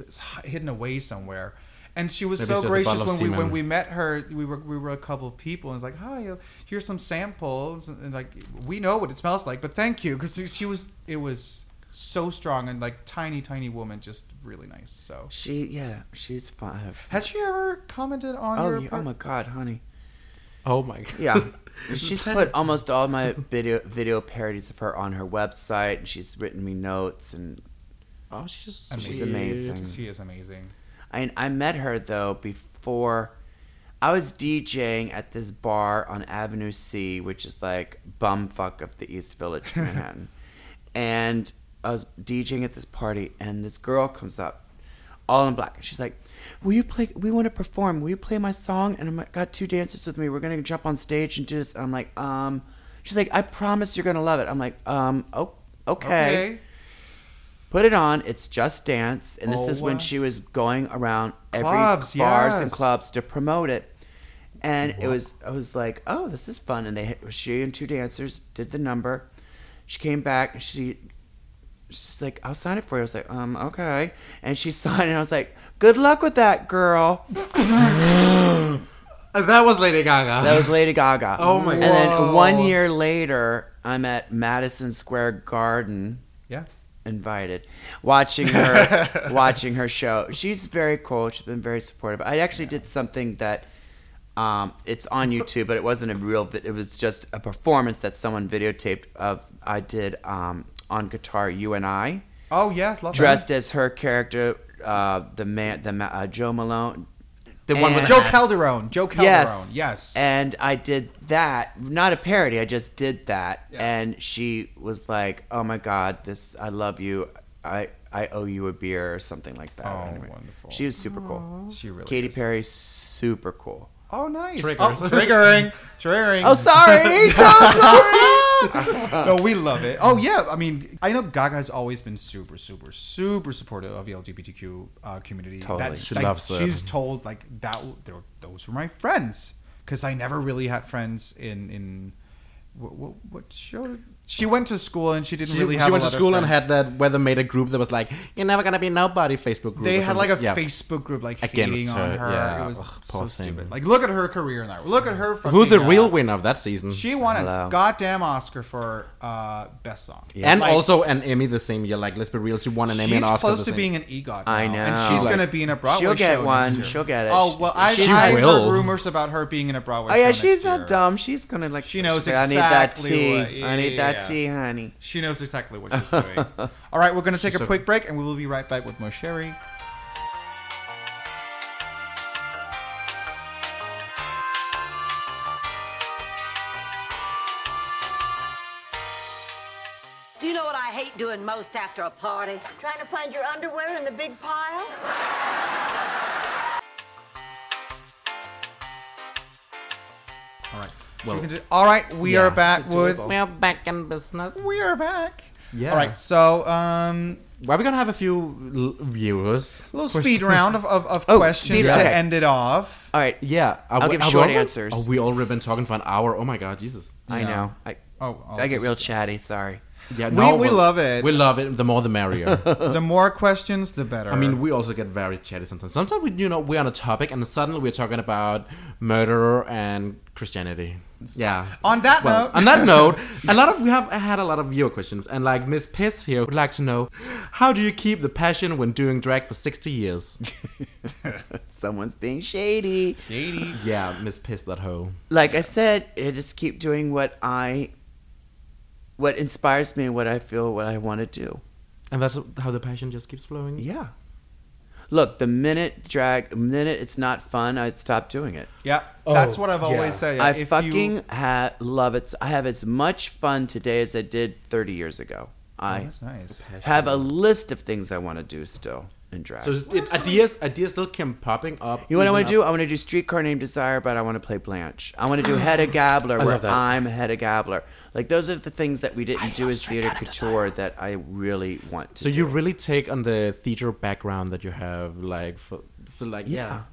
A: it's hi- hidden away somewhere. And she was
B: Maybe
A: so
B: it's just a
A: gracious
B: bottle of
A: when we when
B: semen.
A: we met her. We were we were a couple of people, and it's like, hi, uh, here's some samples, and like we know what it smells like, but thank you because she was it was so strong and like tiny tiny woman, just really nice. So
C: She, yeah, she's fine.
A: has she ever commented on
C: Oh,
A: your?
C: yeah,
A: per-
C: oh my God, honey.
B: Oh my god.
C: Yeah. She's put almost all my video video parodies of her on her website, and she's written me notes. And
B: Oh, she's just
C: She's
A: Amazing.
C: amazing.
A: She is amazing.
C: I, I met her though before I was DJing at this bar on Avenue C, which is like bumfuck of the East Village, Manhattan. and I was DJing at this party, and this girl comes up, all in black, and she's like. Will you play? We want to perform. Will you play my song? And I'm like, got two dancers with me. We're gonna jump on stage and do this. And I'm like, um, she's like, I promise you're gonna love it. I'm like, um, oh, okay.
A: Okay.
C: Put it on. It's Just Dance, and this
A: Oh,
C: is when
A: wow.
C: she was going around every
A: Clubs,
C: bars and
A: yes.
C: clubs to promote it. And it was, I was like, oh, this is fun. And they, she and two dancers did the number. She came back. And she, she's like, I'll sign it for you. I was like, um, okay. And she signed, and I was like, good luck with that, girl.
B: that was Lady Gaga.
C: That was Lady Gaga.
B: Oh my
C: And then one year later, I'm at Madison Square Garden.
A: Yeah.
C: invited watching her watching her show she's very cool she's been very supportive i actually did something that um, it's on youtube but it wasn't a real vi- it was just a performance that someone videotaped of i did um, on guitar you and i
A: Oh yes, love
C: dressed as her character uh, the man the ma- uh, joe malone
B: the one with
A: that.
C: and-
A: Joe Calderone. Joe Calderone. Yes.
C: and I did that, not a parody. I just did that,
A: Yeah.
C: and she was like, "Oh my god, this I love you. I I owe you a beer or something like that."
A: Oh,
C: Anyway,
A: wonderful.
C: She was super cool.
A: She really
C: Katy
A: is.
C: Perry, super cool.
A: Oh nice.
B: Trigger.
A: Oh, triggering. Triggering.
C: Oh, sorry.
A: no, we love it. Oh yeah, I mean, I know Gaga has always been super, super, super supportive of the LGBTQ uh, community.
C: Totally.
A: that,
B: She
A: like,
B: loves it.
A: She's told like that. they were- Those were my friends because I never really had friends in in what, what, what show. She went to school and she didn't
B: She,
A: really
B: she
A: have. a
B: went to
A: lot of
B: school and
A: friends.
B: had that where they made a group that was like, "You're never gonna be nobody." Facebook group.
A: They
B: or
A: had like a
B: something. Yeah.
A: Facebook group like
B: Against
A: hating on
B: her,
A: her.
B: yeah.
A: It was
B: Ugh,
A: so
B: poor thing.
A: stupid. Like, look at her career now. Look at her. Fucking,
B: Who the
A: uh,
B: real winner of that season?
A: She won a
C: Hello.
A: goddamn Oscar for uh, best song.
B: and
A: Like,
B: also an Emmy the same year. Like, let's be real, she won an Emmy
A: She's
B: and Oscar.
A: close
B: the
A: to
B: same-
A: being an EGOT.
C: I
A: now,
C: know.
A: and she's
C: Like,
A: gonna be in a Broadway
C: she'll get
A: show
C: one.
A: Next year.
C: She'll get it.
A: Oh well, I,
C: She
A: I heard
B: will.
A: rumors about her being in a Broadway.
C: Oh yeah,
A: show next
C: she's not
A: year.
C: dumb. She's gonna like.
A: She knows
C: she's like, I need that
A: exactly
C: tea.
A: what-
C: I need
A: yeah.
C: that tea, honey.
A: She knows exactly what she's doing. All right, we're gonna take a
B: so-
A: quick break, and we will be right back with more Sherry.
G: Do you know what I hate doing most after a party?
H: Trying to find your underwear in the big pile?
A: All right.
B: Well-
A: She can do- all right, we
B: Yeah,
A: are back with.
D: We're back in business.
A: We are back.
B: Yeah.
A: All right, so um,
B: Why are we gonna have a few l- viewers?
A: a little
B: First-
A: speed round of of, of
C: Oh,
A: questions
C: speed
A: to
C: round. Okay.
A: end it off.
C: All right.
B: Yeah, are
C: I'll
B: we-
C: give
B: are we
C: short
B: already-
C: answers.
B: Are we already been talking for an hour? Oh my god, Jesus!
C: I know. I
A: Oh, I'll
C: I get
A: just-
C: real chatty. Sorry.
B: Yeah,
A: We- we
B: well,
A: love it.
B: We love it. The more, the merrier.
A: The more questions, the better.
B: I mean, we also get very chatty sometimes. Sometimes we, you know, we're on a topic and suddenly we're talking about murder and Christianity. Yeah.
A: On that note-
B: on that note, a lot of we have had a lot of viewer questions, and like Miss Piss here would like to know, how do you keep the passion when doing drag for sixty years?
C: Someone's being shady.
A: Shady.
B: yeah, Miss Piss that hoe.
C: like I said, I just keep doing what I, what inspires me, and what I feel, what I want to do.
B: And that's how the passion just keeps flowing.
C: Yeah. Look, the minute drag, the minute it's not fun, I'd stop doing it.
A: Yeah, that's
B: Oh,
A: what I've always said. Yeah,
C: I
A: if
C: fucking
A: You, Oh,
C: ha- love it. I have as much fun today as I did 30 years ago.
A: oh,
C: I
A: that's nice.
C: have a list of things I want to do still. in drag.
B: So it, ideas ideas still kept popping up.
C: you
B: even
C: know what I want to
B: after-
C: do? I want to do Streetcar Named Desire, but I want to play Blanche. I want to do Hedda Gabler, where
B: love that.
C: I'm Hedda Gabler. Like those are the things that we didn't do as theater couture that I really want to.
B: So
C: do.
B: you really take on the theater background that you have, like for, for like yeah.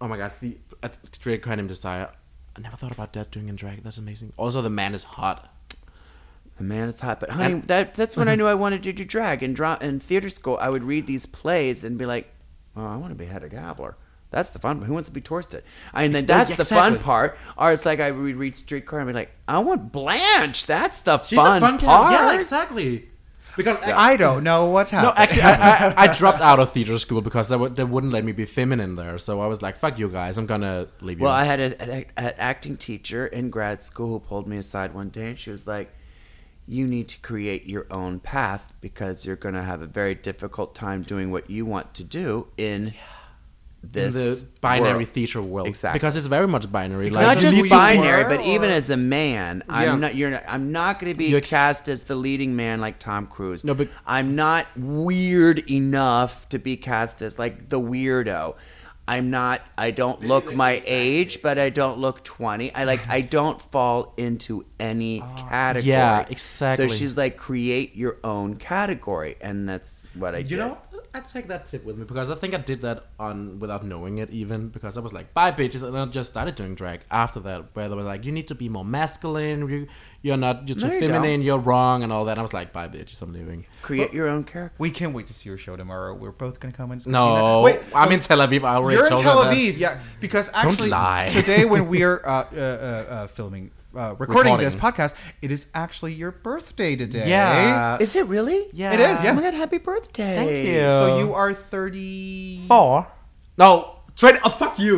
B: Oh my god, the uh, Drag Queen Desire. I never thought about that doing in drag. That's amazing. Also, the man is hot.
C: The man is hot, but honey,
B: And-
C: that that's when I knew I wanted to do drag and dra- in theater school. I would read these plays and be like, "Oh, I want to be Hedda Gabler." That's the fun. Who wants to be Torsted? And then that's the
B: exactly.
C: fun part. Or it's like I would read Streetcar and be like, "I want Blanche." That's the
B: She's
C: fun,
B: a fun cat.
C: part.
B: Yeah, exactly. Because
A: I don't know what's
B: no,
A: happening.
B: actually, I, I, I dropped out of theater school because they, would, they wouldn't let me be feminine there. So I was like, "Fuck you guys, I'm gonna leave you."
C: Well, I had a, a, an acting teacher in grad school who pulled me aside one day and she was like, You need to create your own path because you're going to have a very difficult time doing what you want to do in
B: in
C: this
B: the binary
C: world.
B: theater world,
C: Exactly.
B: because it's very much binary.
C: not
B: Like,
A: who
C: just
A: you
C: binary,
A: were,
C: but
A: or-
C: even as a man,
B: Yeah.
C: I'm not. You're. Not, I'm not going to be
B: You ex-
C: cast as the leading man like Tom Cruise.
B: No, but-
C: I'm not weird enough to be cast as like the weirdo. I'm not. I don't look my age, but I don't look twenty. I like. I don't fall into any category.
B: Ah, Yeah, exactly.
C: So she's like, create your own category, and that's what I do.
B: You know, I take that tip with me because I think I did that on without knowing it even because I was like, "Bye, bitches," and I just started doing drag after that, where they were like, "You need to be more masculine. You, you're not. You're too
C: No, you
B: feminine. You're wrong," and all that. And I was like, "Bye, bitches. I'm leaving."
C: create your own character.
A: we can't wait to see your show tomorrow. We're both gonna come and see
B: No,
A: that. Wait,
B: I'm in Tel Aviv. I already
A: You're in
B: told
A: Tel
B: her that.
A: Aviv, yeah. Because actually,
B: lie.
A: today when we are uh, uh, uh, uh, filming, uh, recording,
B: Recording.
A: this podcast, it is actually your birthday today.
B: Yeah,
C: Is it really?
B: Uh, yeah.
A: it is. Yeah.
C: Oh my god! Happy birthday!
B: Thank you.
A: So you are thirty.
B: four. No, twenty. Oh, fuck you.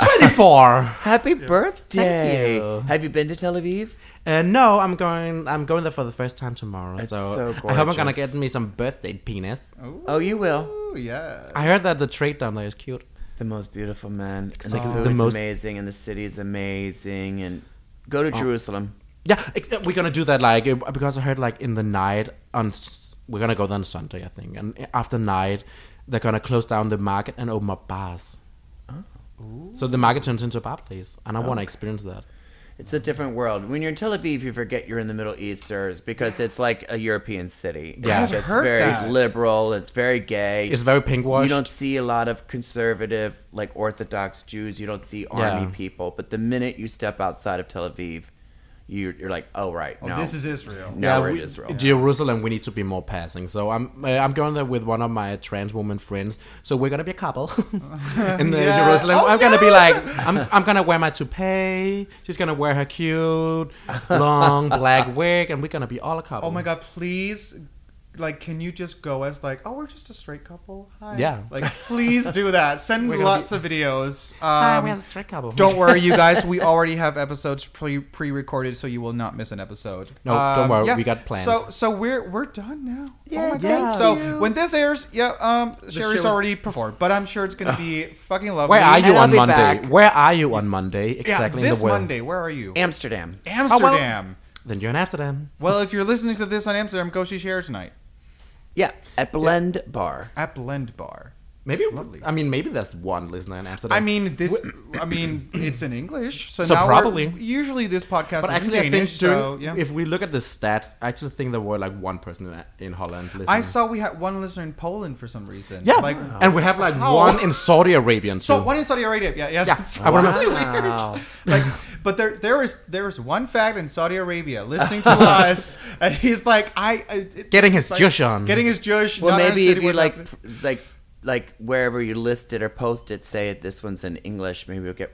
B: Twenty-four.
C: Happy birthday!
B: you.
C: Have you been to Tel Aviv?
B: Uh, no, I'm going. I'm going there for the first time tomorrow.
C: It's
B: so
C: so
B: I hope I'm gonna
C: gorgeous.
B: get me some birthday penis.
C: Oh, you will.
A: Ooh, yeah.
B: I heard that the trait down there is cute.
C: The most beautiful man. And the
B: Exactly.
C: food's
B: The most-
C: amazing, and the city's amazing. And go
B: Oh.
C: to Jerusalem.
B: Yeah, ex- uh, we're gonna do that like uh, because I heard like in the night on s- we're gonna go there on Sunday I think, and uh, after night they're gonna close down the market and open up bars. So the market turns into a bar place, and I want to experience that.
C: It's a different world. When you're in Tel Aviv, you forget you're in the Middle Easters because it's like a European city.
B: Yeah.
C: it's,
A: I've
C: it's
A: heard
C: very
A: that.
C: liberal. It's very gay.
B: It's very pink
C: you
B: washed.
C: don't see a lot of conservative, like Orthodox Jews. You don't see army
B: Yeah.
C: people. But the minute you step outside of Tel Aviv, you're, you're like, oh right,
A: Oh,
C: no,
A: this is Israel.
C: now we're
B: we-
C: in Israel.
B: Jerusalem, we need to be more passing. So I'm uh, I'm going there with one of my trans woman friends. So we're gonna be a couple in the
A: Yeah.
B: Jerusalem.
A: Oh,
B: I'm gonna be
A: no!
B: like I'm I'm gonna wear my toupee. She's gonna wear her cute long black wig, and we're gonna be all a couple.
A: Oh my god! Please, like, can you just go as like, oh, we're just a straight couple. Hi.
B: Yeah.
A: Like, please do that. Send
B: We're gonna
A: lots
B: be-
A: of videos. Um,
B: Hi, we're the straight couple.
A: Don't worry, you guys. We already have episodes pre pre recorded, so you will not miss an episode. Um,
B: No, don't worry, we got plans.
A: So so we're we're done now. Yeah,
B: thank
A: So when this airs, yeah, um, Sherry's
B: show is-
A: already performed, but I'm sure it's gonna be fucking lovely.
B: Where are you
C: And I'll
B: on
C: be
B: Monday?
C: back.
B: Where are you on Monday? Exactly.
A: yeah,
B: in
A: this
B: the world. Oh,
A: Monday. Where are you?
C: Amsterdam.
A: Amsterdam.
B: Then you're in Amsterdam.
A: well. if you're listening to this on Amsterdam, go see Sherry tonight
C: Yeah, at Blend Bar.
A: at Blend Bar.
B: Maybe.
A: Lovely.
B: I mean, maybe that's one listener in Amsterdam.
A: I mean this. I mean it's in English, so,
B: So
A: now
B: probably.
A: we're- usually this podcast is
B: but actually,
A: in Danish.
B: I think
A: so
B: during,
A: yeah.
B: if we look at the stats, I actually think there were like one person in, in Holland listening.
A: I saw we had one listener in Poland for some reason.
B: Yeah,
A: like
B: and we have like
A: How?
B: one in Saudi Arabia too.
A: So one in Saudi Arabia, yeah, yeah.
B: yeah,
A: That's
B: I remember.
A: really weird. Like, but there, there is, there is one fact in Saudi Arabia listening to us, and he's like, I I- it-
B: Getting his
A: it's like-
B: Jewish on.
A: getting his Jewish.
C: Well,
A: not
C: maybe if
A: understanding
C: you
A: what's
C: like,
A: happening.
C: p- like, like wherever you list it or post it, say it. This one's in English. Maybe we'll get.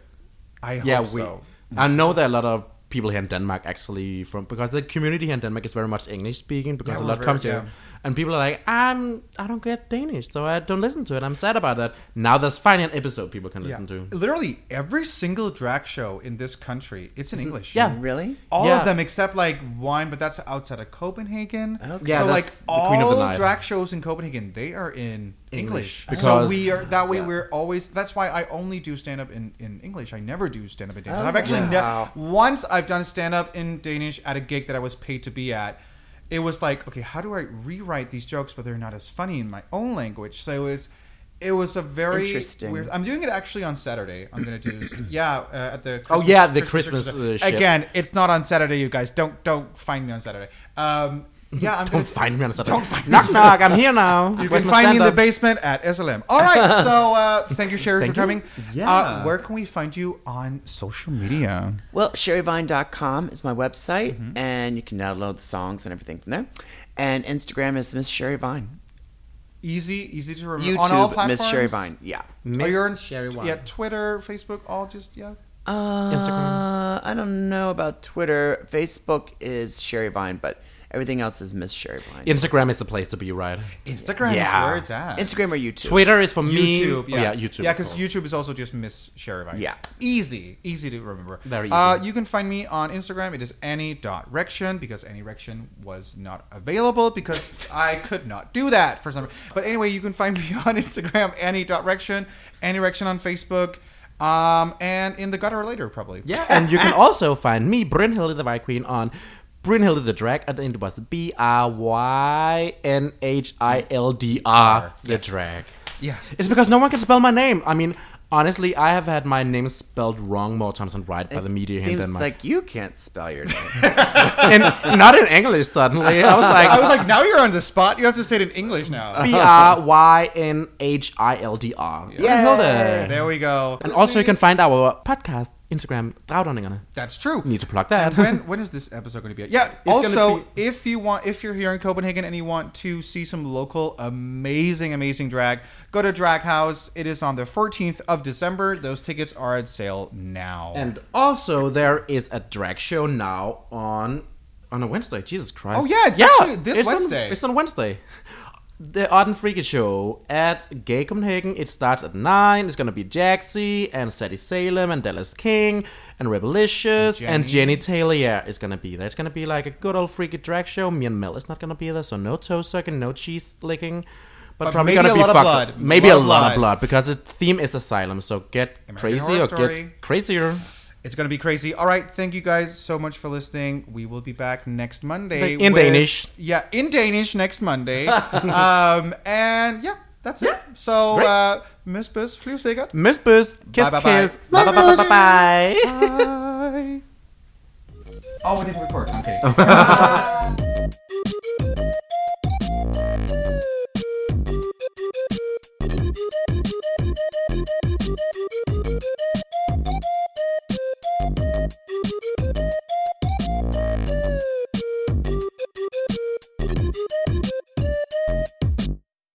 A: I hope
B: yeah, we.
A: so.
B: I know there are a lot of people here in Denmark actually from because the community here in Denmark is very much English speaking because
A: Yeah,
B: a
A: we're
B: lot
A: very-
B: comes here,
A: yeah.
B: and people are like, I'm I don't get Danish, so I don't listen to it. I'm sad about that. Now there's finally an episode people can
A: Yeah.
B: listen to.
A: Literally every single drag show in this country, it's in English.
B: Yeah.
C: Really?
A: All
B: Yeah.
A: of them except like one, but that's outside of Copenhagen.
C: Okay.
B: Yeah,
A: so like
B: that's the
A: all
B: Queen of the Night.
A: drag shows in Copenhagen, they are in English.
B: English,
A: so
B: because-
A: we are that way.
B: yeah.
A: We're always. That's why I only do stand up in, in English. I never do stand up in Danish.
C: Oh,
A: I've actually
C: wow.
A: never once I've done stand up in Danish at a gig that I was paid to be at. it was like, okay, how do I rewrite these jokes, but they're not as funny in my own language? So it was, it was a very
C: Interesting.
A: Weird, I'm doing it actually on Saturday. I'm gonna do, yeah, uh, at the
B: Oh, yeah, the Christmas, uh, ship.
A: again. It's not on Saturday, you guys. Don't don't find me on Saturday. Um, yeah, I'm
B: Don't
A: gonna,
B: find me on Saturday.
A: Don't find me.
B: knock knock. I'm here now.
A: You can find me in the basement at SLM. All right, so uh, thank you, Sherry,
B: Thank
A: for coming.
B: you.
A: Uh,
B: Yeah.
A: where can we find you on social media?
C: Well, sherryvine.com is my website, and you can download the songs and everything from there. And Instagram is Miss Sherry Vine.
A: Easy, easy to remember. on all
C: YouTube,
A: platforms.
C: Miss Sherry Vine. Yeah.
A: Oh, you're on
D: Sherry Wine.
A: Yeah, Twitter, Facebook, all just yeah.
C: Instagram. I don't know about Twitter. Facebook is Sherry Vine, but everything else is Miss Sherry Vine.
B: Instagram is the place to be, right?
A: Instagram is
B: Yeah.
A: where it's at.
C: Instagram or YouTube.
B: Twitter is for me.
A: YouTube,
B: Oh,
A: yeah,
B: YouTube.
A: yeah, because
B: Oh.
A: YouTube is also just Miss Sherivine.
C: Yeah.
A: easy, easy to remember.
B: Very
A: Uh,
B: easy.
A: you can find me on Instagram. It is Annie.Rection because Annie.Rection was not available because I could not do that for some. But anyway, you can find me on Instagram Annie.Rection, Annie.Rection on Facebook, um, and in the gutter later probably.
B: Yeah, and you can also find me, Brynhilde the White Queen, on Brynhilde the Drag. And it was B R Y N H I L D R the Drag.
A: Yeah.
B: it's because no one can spell my name. I mean, honestly, I have had my name spelled wrong more times than right by the media here in
C: Seems
B: Denmark,
C: like you can't spell your name.
B: and not in English. Suddenly, I was
A: I was
B: like
A: like, now you're on the spot. You have to say it in English now.
B: B R Y N H I L D R. Brynhilde.
A: There we go.
B: And also, you can find our podcast, Instagram, Dragdonningerne.
A: That's true.
B: Need to plug that.
A: And when when is this episode going to be? Out? Yeah.
B: gonna
A: also,
B: be-
A: if you want, if you're here in Copenhagen and you want to see some local amazing, amazing drag, go to Drag House. It is on the 14th of December. Those tickets are at sale now.
B: And also, there is a drag show now on on a Wednesday. Jesus Christ!
A: Oh, yeah, it's actually this
B: it's on-
A: Wednesday.
B: it's on Wednesday. The Art and Freaky Show at Gay Copenhagen. It starts at nine. It's gonna be Jaxie and Sadie Salem and Dallas King and Rebelicious and Jenny Taylor. Yeah, is gonna be there. It's gonna be like a good old freaky drag show. Me and Mel is not gonna be there, so no toe sucking, no cheese licking. But,
A: But
B: probably
A: maybe
B: gonna
A: a
B: be
A: lot of
B: fucked.
A: blood.
B: Maybe
A: Lot
B: a
A: of
B: lot of
A: blood.
B: blood because the theme is asylum. So get crazy
A: Horror
B: or
A: Story.
B: get crazier.
A: it's going to be crazy. All right. Thank you guys so much for listening. We will be back next Monday
B: In Danish.
A: Yeah, in Danish next Monday. um, and yeah, that's it. So,
B: Great.
A: uh, Miss Bus, flew sikkert.
B: Miss Booth, kiss,
A: Bye, bye, bye.
B: kiss.
A: Bye,
B: Bye,
A: bye, bye,
B: bye, bye, bye, bye.
A: Bye. Oh, I didn't record. I'm kidding.